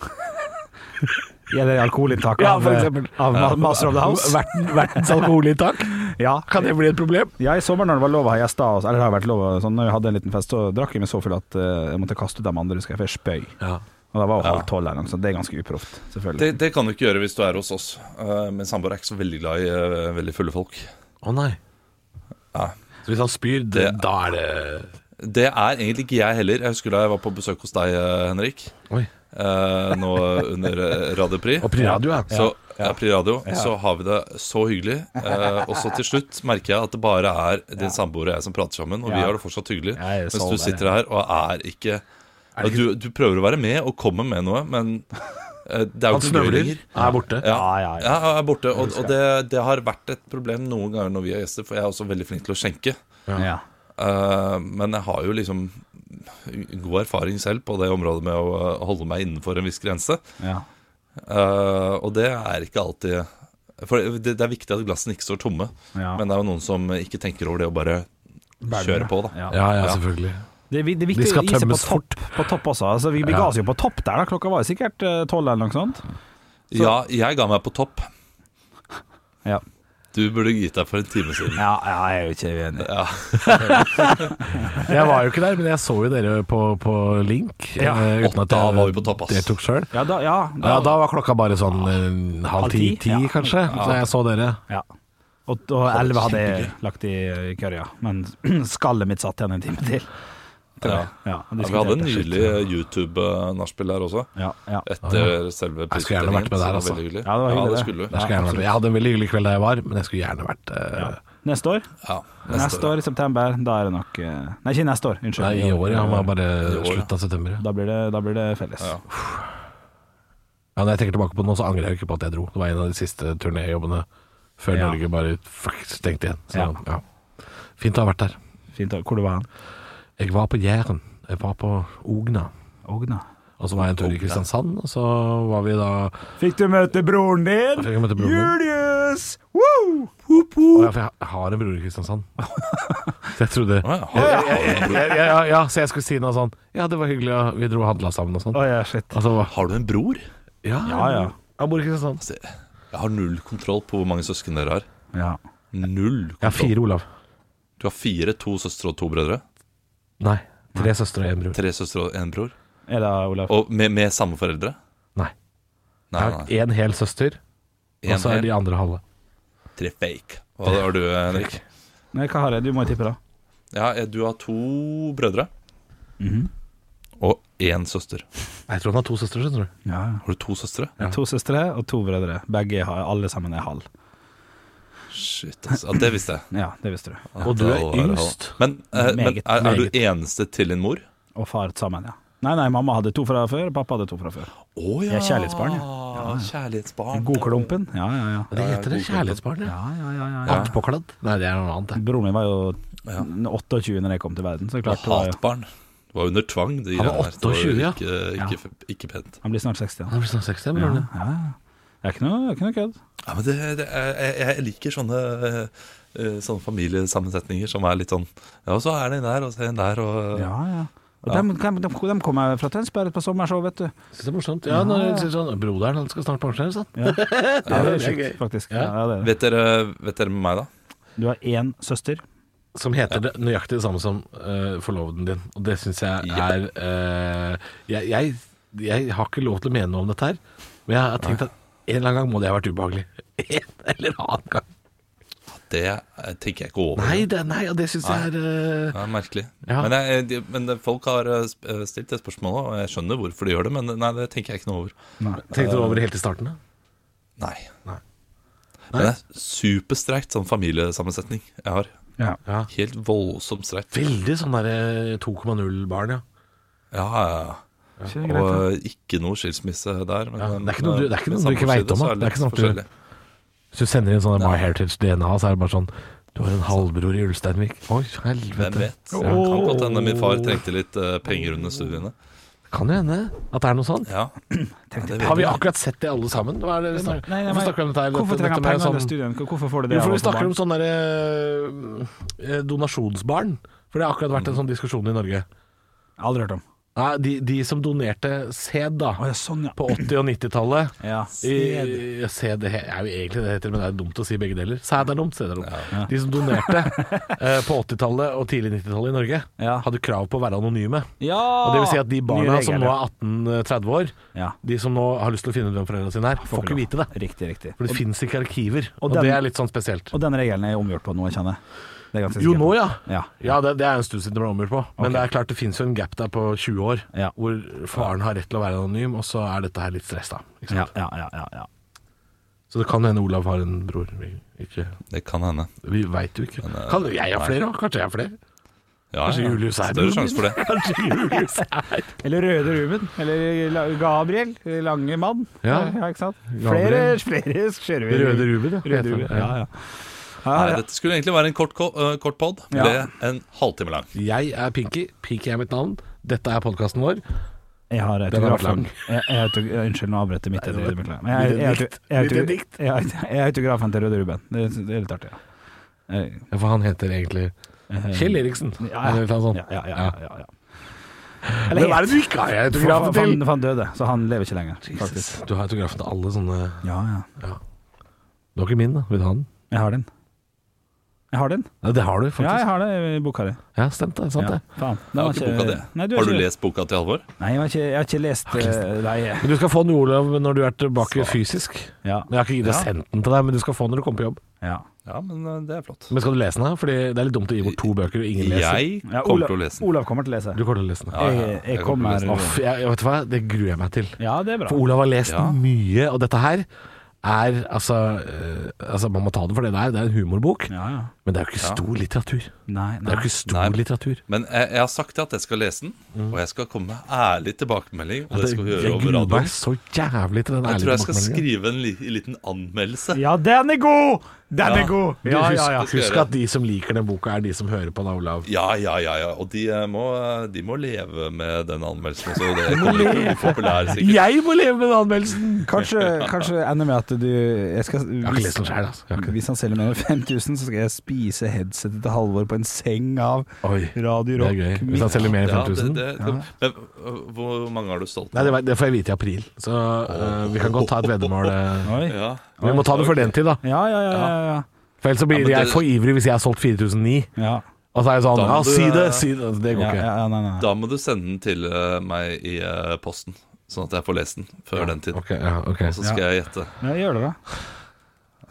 Speaker 6: Gjelder alkoholinntak
Speaker 4: Ja,
Speaker 6: av, eh,
Speaker 4: for eksempel.
Speaker 6: av Ma- Master of the House?
Speaker 4: Verten, vertens alkoholinntak?
Speaker 6: Ja.
Speaker 4: Kan det bli et problem?
Speaker 6: ja, i sommer når det var lov å ha gjester, og så- eller det har vært lov å- sånn, når vi hadde en liten fest, så drakk jeg meg så full at eh, jeg måtte kaste ut de andre, husker jeg, for jeg spøy.
Speaker 4: Ja.
Speaker 6: Og det var jo halv tolv eller noe, så det er ganske uproft, selvfølgelig.
Speaker 5: Det, det kan du ikke gjøre hvis du er hos oss. Eh, Min samboer er ikke så veldig glad i eh, veldig fulle folk.
Speaker 4: Å nei.
Speaker 5: Ja.
Speaker 4: Så hvis han spyr, det, da er det
Speaker 5: Det er egentlig ikke jeg heller. Jeg husker da jeg var på besøk hos deg, eh, Henrik.
Speaker 4: Oi.
Speaker 5: eh, nå under eh, Radio Pri.
Speaker 4: Og Pri Radio, ja.
Speaker 5: Så, ja, Pri Radio, så har vi det så hyggelig. Eh, og så til slutt merker jeg at det bare er din samboer og jeg som prater sammen, og vi
Speaker 6: Ja.
Speaker 5: har det fortsatt hyggelig.
Speaker 6: Ja, jeg så
Speaker 5: mens du
Speaker 6: det,
Speaker 5: sitter her og er ikke du, du prøver å være med og komme med noe, men eh, det er jo
Speaker 4: Han
Speaker 5: ikke noe gøy
Speaker 4: snøvler.
Speaker 5: lenger.
Speaker 4: Er borte.
Speaker 5: Ja,
Speaker 6: Ja,
Speaker 5: ja,
Speaker 6: ja, ja.
Speaker 5: jeg er borte. Og, og det, det har vært et problem noen ganger når vi har gjester, for jeg er også veldig flink til å skjenke.
Speaker 6: Ja.
Speaker 5: Eh, men jeg har jo liksom god erfaring selv på det området med å eh, holde meg innenfor en viss grense.
Speaker 6: Ja.
Speaker 5: Eh, og det er ikke alltid For det, det er viktig at glassene ikke står tomme,
Speaker 6: Ja.
Speaker 5: men det er jo noen som ikke tenker over det og bare kjører på, da.
Speaker 6: Ja.
Speaker 4: Ja, ja, selvfølgelig.
Speaker 6: Det, er vi- det er viktig
Speaker 4: De skal
Speaker 6: å gi seg på
Speaker 4: tømmes
Speaker 6: topp, på topp også. Altså, vi vi
Speaker 4: Ja.
Speaker 6: ga oss jo på topp der. da Klokka var jo sikkert eh, tolv eller noe sånt.
Speaker 5: Ja, jeg ga meg på topp.
Speaker 6: Ja.
Speaker 5: Du burde gitt deg for en time siden.
Speaker 6: Ja, jeg er jo ikke uenig.
Speaker 4: Jeg var jo ikke der, men jeg så jo dere på, på link.
Speaker 6: Ja.
Speaker 4: eh,
Speaker 5: Og da var vi på topp, ass.
Speaker 4: deltok sjøl.
Speaker 6: Ja, da, ja, da,
Speaker 4: Ja, da var klokka bare sånn eh, halv
Speaker 6: Halv ti?
Speaker 4: ti-ti,
Speaker 6: Ja.
Speaker 4: kanskje. Så jeg så dere.
Speaker 6: Ja. Og, og elleve hadde jeg lagt i eh, i kørja, men skallet mitt satt igjen en time til. Tror jeg. Ja,
Speaker 5: Ja, vi hadde en nydelig eh, YouTube-nachspiel der også.
Speaker 6: Ja, ja.
Speaker 5: Etter selve
Speaker 4: Jeg skulle gjerne vært med der, altså.
Speaker 5: veldig hyggelig.
Speaker 6: Ja, det var hyggelig,
Speaker 5: ja, det
Speaker 6: det.
Speaker 5: skulle
Speaker 4: Jeg,
Speaker 5: du.
Speaker 4: skulle gjerne vært med. jeg hadde en veldig hyggelig kveld da jeg var, men jeg skulle gjerne vært eh,
Speaker 6: Neste år?
Speaker 5: Ja,
Speaker 6: Neste, år i september, da er det nok eh, Nei, ikke neste år, unnskyld. Eh,
Speaker 4: Nei, i år, ja. Men bare
Speaker 5: I år, ja.
Speaker 4: slutt av september. Ja.
Speaker 6: Da blir det, da blir det felles.
Speaker 5: Ja.
Speaker 4: Ja, når jeg tenker tilbake på det nå, så angrer jeg jo ikke på at jeg dro. Det var en av de siste turnéjobbene før
Speaker 6: Ja.
Speaker 4: Norge bare fuck, stengte igjen. Så,
Speaker 6: Ja.
Speaker 4: ja. Fint å ha vært der.
Speaker 6: Fint. da. Hvor du var hen?
Speaker 4: Jeg var på Jæren. Jeg var på Ogna.
Speaker 6: Ogna.
Speaker 4: Og så var jeg en tur i Kristiansand, og så var vi da
Speaker 6: Fikk du møte broren din?
Speaker 4: Fikk jeg møte broren min.
Speaker 6: Julius! Woo!
Speaker 4: Å ja, for jeg jeg har en bror i Kristiansand. Så jeg trodde
Speaker 5: Å, ja. Har- har-
Speaker 4: ja, ja, ja, ja, så jeg skulle si noe sånn Ja, det var hyggelig, og vi dro og handla sammen og sånn.
Speaker 6: Å ja, shit.
Speaker 4: Altså, hva-
Speaker 5: Har du en bror?
Speaker 4: ja,
Speaker 6: Ja, ja.
Speaker 4: Han bor i Kristiansand.
Speaker 5: Altså, Jeg har null kontroll på hvor mange søsken dere har.
Speaker 6: Ja.
Speaker 5: Null
Speaker 4: Jeg har
Speaker 5: kontroll.
Speaker 4: fire, Olav.
Speaker 5: Du har fire, to søstre og to brødre.
Speaker 4: Nei. Tre søstre og én bror.
Speaker 5: Tre søstre og én bror.
Speaker 6: Er det Olaf?
Speaker 5: Og med, med samme foreldre?
Speaker 4: Nei.
Speaker 5: Nei,
Speaker 4: Jeg har
Speaker 5: nei.
Speaker 4: én hel søster, og
Speaker 5: En
Speaker 4: så er
Speaker 5: hel,
Speaker 4: de andre halve.
Speaker 5: tre fake. Hva har du, Henrik?
Speaker 6: Nei, hva har jeg? Du må jo tippe, da.
Speaker 5: Ja, eh, du har to brødre.
Speaker 4: Mhm.
Speaker 5: Og én søster.
Speaker 4: Jeg tror han har to søstre, skjønner du.
Speaker 6: Ja, ja.
Speaker 5: Har du to søstre?
Speaker 6: To søstre og to brødre. Begge har, alle sammen er halv.
Speaker 5: Shit, altså. Ja, det visste jeg.
Speaker 6: Ja, det visste du.
Speaker 4: Og du er
Speaker 5: Ja, det var-
Speaker 4: yngst.
Speaker 5: Men, eh, men
Speaker 6: Meget,
Speaker 5: er, er du
Speaker 4: meget.
Speaker 5: eneste til din mor?
Speaker 6: Og far sammen, ja. Nei, nei, mamma hadde to fra før, pappa hadde to fra før.
Speaker 5: Å ja.
Speaker 6: Jeg er kjærlighetsbarn, ja.
Speaker 5: Kjærlighetsbarn.
Speaker 6: Godklumpen. Ja, ja, ja.
Speaker 4: Det heter det.
Speaker 5: god kontroll.
Speaker 4: Kjærlighetsbarn, ja.
Speaker 6: ja, ja, ja, ja, ja.
Speaker 4: Attpåkladd? Nei, det er noe annet, det.
Speaker 6: Broren min var jo 28 når jeg kom til verden, så det er klart det var jo,
Speaker 5: Hatbarn. Det var under tvang. De
Speaker 4: Han var
Speaker 5: greiene her. Det
Speaker 4: 28, ja.
Speaker 5: Ikke, ikke, ikke pent.
Speaker 6: han blir snart 60. Han.
Speaker 4: Han blir sånn snart 60,
Speaker 6: Ja,
Speaker 4: broren din.
Speaker 6: ja, ja. Det er ikke noe, det er ikke noe kødd.
Speaker 5: Ja, men det, det er, jeg, jeg liker sånne, eh, sånne familiesammensetninger som er litt sånn Ja, og så er det en der, og så er det en der, og
Speaker 6: Ja, ja. Og dem, dem, dem, dem kom jeg fra Tønsberg på sommershow, vet du.
Speaker 4: Synes det er morsomt. Ja, når jeg sier sånn Broderen, han skal snart pensjonere seg.
Speaker 6: Ja, det er
Speaker 4: det er
Speaker 6: sjukt, faktisk.
Speaker 4: Ja.
Speaker 6: Ja, det er det.
Speaker 5: Vet dere, vet dere med meg, da?
Speaker 6: Du har én søster.
Speaker 4: Som heter det nøyaktig det samme som eh, forloveden din. Og det syns jeg
Speaker 5: Ja.
Speaker 4: er eh, jeg, jeg, jeg har ikke lov til å mene noe om dette her, men jeg har tenkt at en eller annen gang må det ha vært ubehagelig. En eller annen gang.
Speaker 5: Det eh, tenker jeg ikke over.
Speaker 4: Nei, det, nei og det syns jeg er eh,
Speaker 5: Det er merkelig.
Speaker 4: Ja.
Speaker 5: Men, jeg, de, men folk har eh, sp- eh, stilt det spørsmålet, og jeg skjønner hvorfor de gjør det, men nei, det tenker jeg ikke noe over.
Speaker 4: Tenkte du over det helt i starten? da?
Speaker 5: Nei.
Speaker 4: Nei.
Speaker 5: Men det er superstreikt sånn familiesammensetning jeg har.
Speaker 6: Ja.
Speaker 4: Ja.
Speaker 5: Helt voldsomt streikt.
Speaker 4: Veldig sånn derre 2,0 barn, ja.
Speaker 5: Ja, ja, ja.
Speaker 6: Ikke det greit, da?
Speaker 5: Og ikke noe skilsmisse der. Men,
Speaker 4: Ja, det er ikke noe du- det er ikke
Speaker 5: men
Speaker 4: noe du ikke
Speaker 5: samboerside
Speaker 4: vet om,
Speaker 5: så
Speaker 4: da.
Speaker 5: er
Speaker 4: Det er ikke
Speaker 5: litt
Speaker 4: sånn at du-
Speaker 5: forskjellig.
Speaker 4: Hvis du sender inn sånn MyHeritage-DNA, så er det bare sånn Du har en halvbror i Ulsteinvik. Oi,
Speaker 5: Hvem
Speaker 4: helvete.
Speaker 5: vet? Det Kan godt hende min far trengte litt eh, penger under studiene.
Speaker 4: Kan jo hende at det er noe sånt.
Speaker 5: Ja, Ja, det vet
Speaker 4: Har vi
Speaker 5: jeg.
Speaker 4: akkurat sett det alle sammen? Hva er det vi snakker
Speaker 6: Nei, nei,
Speaker 4: Hvorfor
Speaker 6: men-
Speaker 4: snakker vi om dette her?
Speaker 6: Hvorfor
Speaker 4: Dette-
Speaker 6: trenger han
Speaker 4: dette med
Speaker 6: penger under
Speaker 4: sånn-
Speaker 6: studien? Hvorfor får du det?
Speaker 4: Jo, for
Speaker 6: av
Speaker 4: vi
Speaker 6: å få
Speaker 4: snakker
Speaker 6: barn?
Speaker 4: om sånne der, eh, eh, donasjonsbarn. For det har akkurat vært en sånn diskusjon i Norge.
Speaker 6: Aldri hørt om.
Speaker 4: Nei, de, de som donerte sæd, da.
Speaker 6: Å ja, sånn, ja.
Speaker 4: På 80- og 90-tallet.
Speaker 6: Ja.
Speaker 4: I- Sæd Eh, det he- er jo egentlig det heter, men det er dumt å si begge deler. Sæd er dumt, sæd er dumt. De som donerte eh, på 80-tallet og tidlig 90-tallet i Norge,
Speaker 6: Ja.
Speaker 4: hadde krav på å være anonyme.
Speaker 6: ja.
Speaker 4: Og det vil si at de barna
Speaker 6: Nye regler,
Speaker 4: som nå
Speaker 6: ja.
Speaker 4: er 18-30 år,
Speaker 6: Ja.
Speaker 4: de som nå har lyst til å finne ut hvem foreldrene sine er, får ikke vite det.
Speaker 6: Riktig, riktig.
Speaker 4: For det fins ikke arkiver, og,
Speaker 6: den-
Speaker 4: det er litt sånn spesielt.
Speaker 6: Og den regelen er omgjort på nå, kjenner jeg. Det er ganske
Speaker 4: Jo,
Speaker 6: sikkert.
Speaker 4: nå, ja.
Speaker 6: Ja.
Speaker 4: Ja, det, det er en stund siden det ble omgjort på. Men det er klart det fins jo en gap der på 20 år,
Speaker 6: Ja.
Speaker 4: hvor faren har rett til å være anonym, og så er dette her litt stress, da. Ikke
Speaker 6: Ja,
Speaker 4: sant?
Speaker 6: ja, ja, ja, ja.
Speaker 4: Så det kan hende Olav har en bror. Vi, ikke,
Speaker 5: Det kan hende.
Speaker 4: vi veit jo ikke. Kan jeg ha flere òg? Kanskje jeg har flere?
Speaker 5: Ja,
Speaker 4: Kanskje Julius er
Speaker 5: Større
Speaker 4: broren
Speaker 5: sjanse
Speaker 4: min?
Speaker 5: for
Speaker 4: Kanskje
Speaker 5: det.
Speaker 4: Julius er
Speaker 6: Eller Røde Ruben. Eller La- Gabriel. Lange mann.
Speaker 4: Ja.
Speaker 6: ikke sant? Flere,
Speaker 4: Gabriel.
Speaker 6: flere skjører vi.
Speaker 4: Røde Ruben, ja.
Speaker 6: Røde Ruben. Ja,
Speaker 5: Nei,
Speaker 6: ja. Ja, ja.
Speaker 5: dette skulle egentlig være en kort, ko- eh, kort pod.
Speaker 6: Ja.
Speaker 5: Ble en halvtime lang.
Speaker 4: Jeg er Pinky. Pinky er mitt navn. Dette er podkasten vår.
Speaker 6: Jeg har
Speaker 4: Den har vært lang.
Speaker 6: autografen Jeg- jeg har auto- jeg- Unnskyld, nå avbrøt jeg
Speaker 4: Nei,
Speaker 6: midt i
Speaker 4: det
Speaker 6: det.
Speaker 4: var-
Speaker 6: Beklager. Men jeg- jeg- jeg-
Speaker 4: Litt
Speaker 6: jeg-
Speaker 4: dikt.
Speaker 6: jeg-
Speaker 4: Litt dikt.
Speaker 6: Jeg jeg- jeg er autografen til Røde Ruben. Det det er litt artig. ja. Eh,
Speaker 4: Ja, For han heter egentlig Kjell Eriksen.
Speaker 6: Ja,
Speaker 4: Eller noe sånt.
Speaker 6: ja, ja, ja, ja, ja. Eller
Speaker 4: Hvem er det du
Speaker 6: het.
Speaker 4: ikke har autografen
Speaker 6: For- for- for
Speaker 4: til?
Speaker 6: Han, for han døde, så han lever ikke lenger. Faktisk.
Speaker 4: Du har autografen til alle sånne
Speaker 6: Ja, ja.
Speaker 4: Du har ikke min, da? Vil du ha den?
Speaker 6: Jeg har den. Jeg har den.
Speaker 4: Ja, det har du, faktisk.
Speaker 6: Ja,
Speaker 4: Ja,
Speaker 6: jeg har det i boka di.
Speaker 4: stemt det. Sant
Speaker 6: Ja,
Speaker 4: det.
Speaker 6: faen. Den
Speaker 5: Jeg
Speaker 6: var
Speaker 5: har ikke boka det.
Speaker 6: Nei, du
Speaker 5: har du
Speaker 6: ikke-
Speaker 5: lest boka til Halvor?
Speaker 6: Nei, jeg har ikke, jeg har ikke lest eh, Nei.
Speaker 4: Men du skal få den, Olav, når du er tilbake fysisk.
Speaker 6: Ja.
Speaker 4: Men Jeg har ikke gitt
Speaker 6: Ja.
Speaker 4: sendt den til deg, men du skal få den når du kommer på jobb.
Speaker 6: ja.
Speaker 5: Ja, men eh, det er flott.
Speaker 4: Men skal du lese den? da? Fordi det er litt dumt å gi bort to bøker og ingen leser.
Speaker 5: Jeg
Speaker 6: Ja,
Speaker 5: kommer
Speaker 6: Olav,
Speaker 5: til å lese den.
Speaker 6: Olav kommer til å lese.
Speaker 4: Du kommer til å lese den.
Speaker 5: Ja, ja,
Speaker 6: Jeg, jeg
Speaker 5: jeg kommer
Speaker 6: kommer
Speaker 5: til å
Speaker 4: Åh, jeg, jeg vet du hva, det gruer jeg meg til.
Speaker 6: Ja, det er bra.
Speaker 4: For Olav har lest
Speaker 5: Ja.
Speaker 4: mye, og dette her er altså, eh, altså Man må ta det for det det er. Det er en humorbok,
Speaker 6: Ja, ja.
Speaker 4: men det er jo ikke stor litteratur.
Speaker 6: Nei,
Speaker 4: Det er
Speaker 6: nei.
Speaker 4: jo ikke stor
Speaker 5: Nei.
Speaker 4: litteratur.
Speaker 5: Men jeg, jeg har sagt at jeg skal lese den,
Speaker 4: Mm.
Speaker 5: og jeg skal komme med ærlig tilbakemelding. Og det skal vi gjøre
Speaker 4: jeg
Speaker 5: over
Speaker 4: gruer meg
Speaker 5: radioen.
Speaker 4: så jævlig til den
Speaker 5: Jeg tror
Speaker 4: ærlige
Speaker 5: jeg skal
Speaker 4: tilbakemeldingen.
Speaker 5: skrive en li liten anmeldelse.
Speaker 6: Ja, den er god! Den
Speaker 5: Ja.
Speaker 6: er god!
Speaker 4: Du,
Speaker 6: Ja,
Speaker 4: husk,
Speaker 6: ja, ja.
Speaker 5: skal jeg
Speaker 4: husk
Speaker 5: gjøre.
Speaker 4: at de som liker den boka, er de som hører på da, Olav.
Speaker 5: Ja, ja, ja, ja. Og de eh, må, de må leve med den anmeldelsen også. Det kommer ikke til å bli populær, sikkert.
Speaker 4: Jeg må leve med den anmeldelsen!
Speaker 6: Kanskje, kanskje ender med at du jeg skal,
Speaker 4: Jeg har ikke lest den selv, altså. Jeg har ikke det.
Speaker 6: Hvis han selger mer enn 5000, så skal jeg spise headsetet til Halvor på en seng av
Speaker 4: Oi,
Speaker 6: Radio
Speaker 4: det er
Speaker 6: Rock.
Speaker 4: gøy. Hvis han selger mer enn
Speaker 5: Ja,
Speaker 4: 5000?
Speaker 5: det, det, men, øh, hvor mange har du solgt?
Speaker 4: Nei, det, vet- det får jeg vite i april, så øh, vi kan godt ta et veddemål. eh.
Speaker 6: Oi.
Speaker 5: Ja.
Speaker 4: Vi må ta det for den tid, da.
Speaker 6: Ja, ja, ja. ja, ja.
Speaker 4: For ellers så blir
Speaker 5: Ja, men
Speaker 4: jeg
Speaker 5: det-
Speaker 4: for ivrig hvis jeg har solgt 4009.
Speaker 6: ja.
Speaker 4: Og så er jeg sånn
Speaker 5: Da må
Speaker 4: Ja,
Speaker 5: du,
Speaker 4: si det!
Speaker 5: eh,
Speaker 4: Si det! Det går
Speaker 6: ja,
Speaker 4: ikke.
Speaker 6: ja, ja nei, nei.
Speaker 5: Da må du sende den til eh, meg i eh, posten, sånn at jeg får lest den før den tid.
Speaker 4: Ok, ja, ok.
Speaker 5: Og så skal jeg gjette.
Speaker 6: Ja, gjør det, da.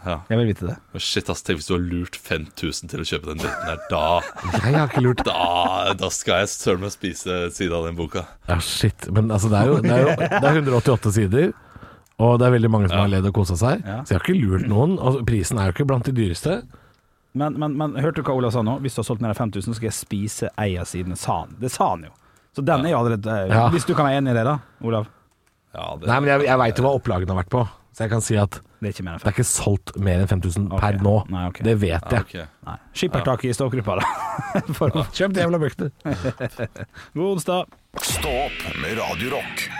Speaker 5: Ja.
Speaker 6: Jeg vil vite det.
Speaker 5: Men Shit, ass, tenk hvis du har lurt 5000 til å kjøpe den dritten her. Da,
Speaker 4: Nei, jeg har ikke lurt.
Speaker 5: da, da skal jeg søren meg spise siden av den boka.
Speaker 4: Ja, shit. Men altså, det er jo, det er jo det er 188 sider, og det er veldig mange som har ledd og kosa seg.
Speaker 6: Ja.
Speaker 4: Så jeg har ikke lurt noen. Og prisen er jo ikke blant de dyreste.
Speaker 6: Men, men, men hørte du hva Olav sa nå? Hvis du har solgt mer enn 5000, så skal jeg spise ei av sidene. Sa han. Det sa han jo. Så den er jo allerede eh,
Speaker 4: Ja.
Speaker 6: Hvis du kan være enig i det, da, Olav.
Speaker 5: Ja, det,
Speaker 4: Nei, men jeg, jeg veit jo hva opplagene har vært på, så jeg kan si at
Speaker 6: Det er ikke mer enn
Speaker 4: det er
Speaker 6: 5000.
Speaker 4: ikke solgt mer enn 5000
Speaker 6: Ok.
Speaker 4: per nå.
Speaker 6: Nei, ok.
Speaker 4: Det vet jeg.
Speaker 5: ok.
Speaker 6: Nei. Skippertak i stokkgruppa, da. For å
Speaker 4: Kjøp det jævla bøkene.
Speaker 6: God onsdag.
Speaker 1: Stå opp med Radio Rock.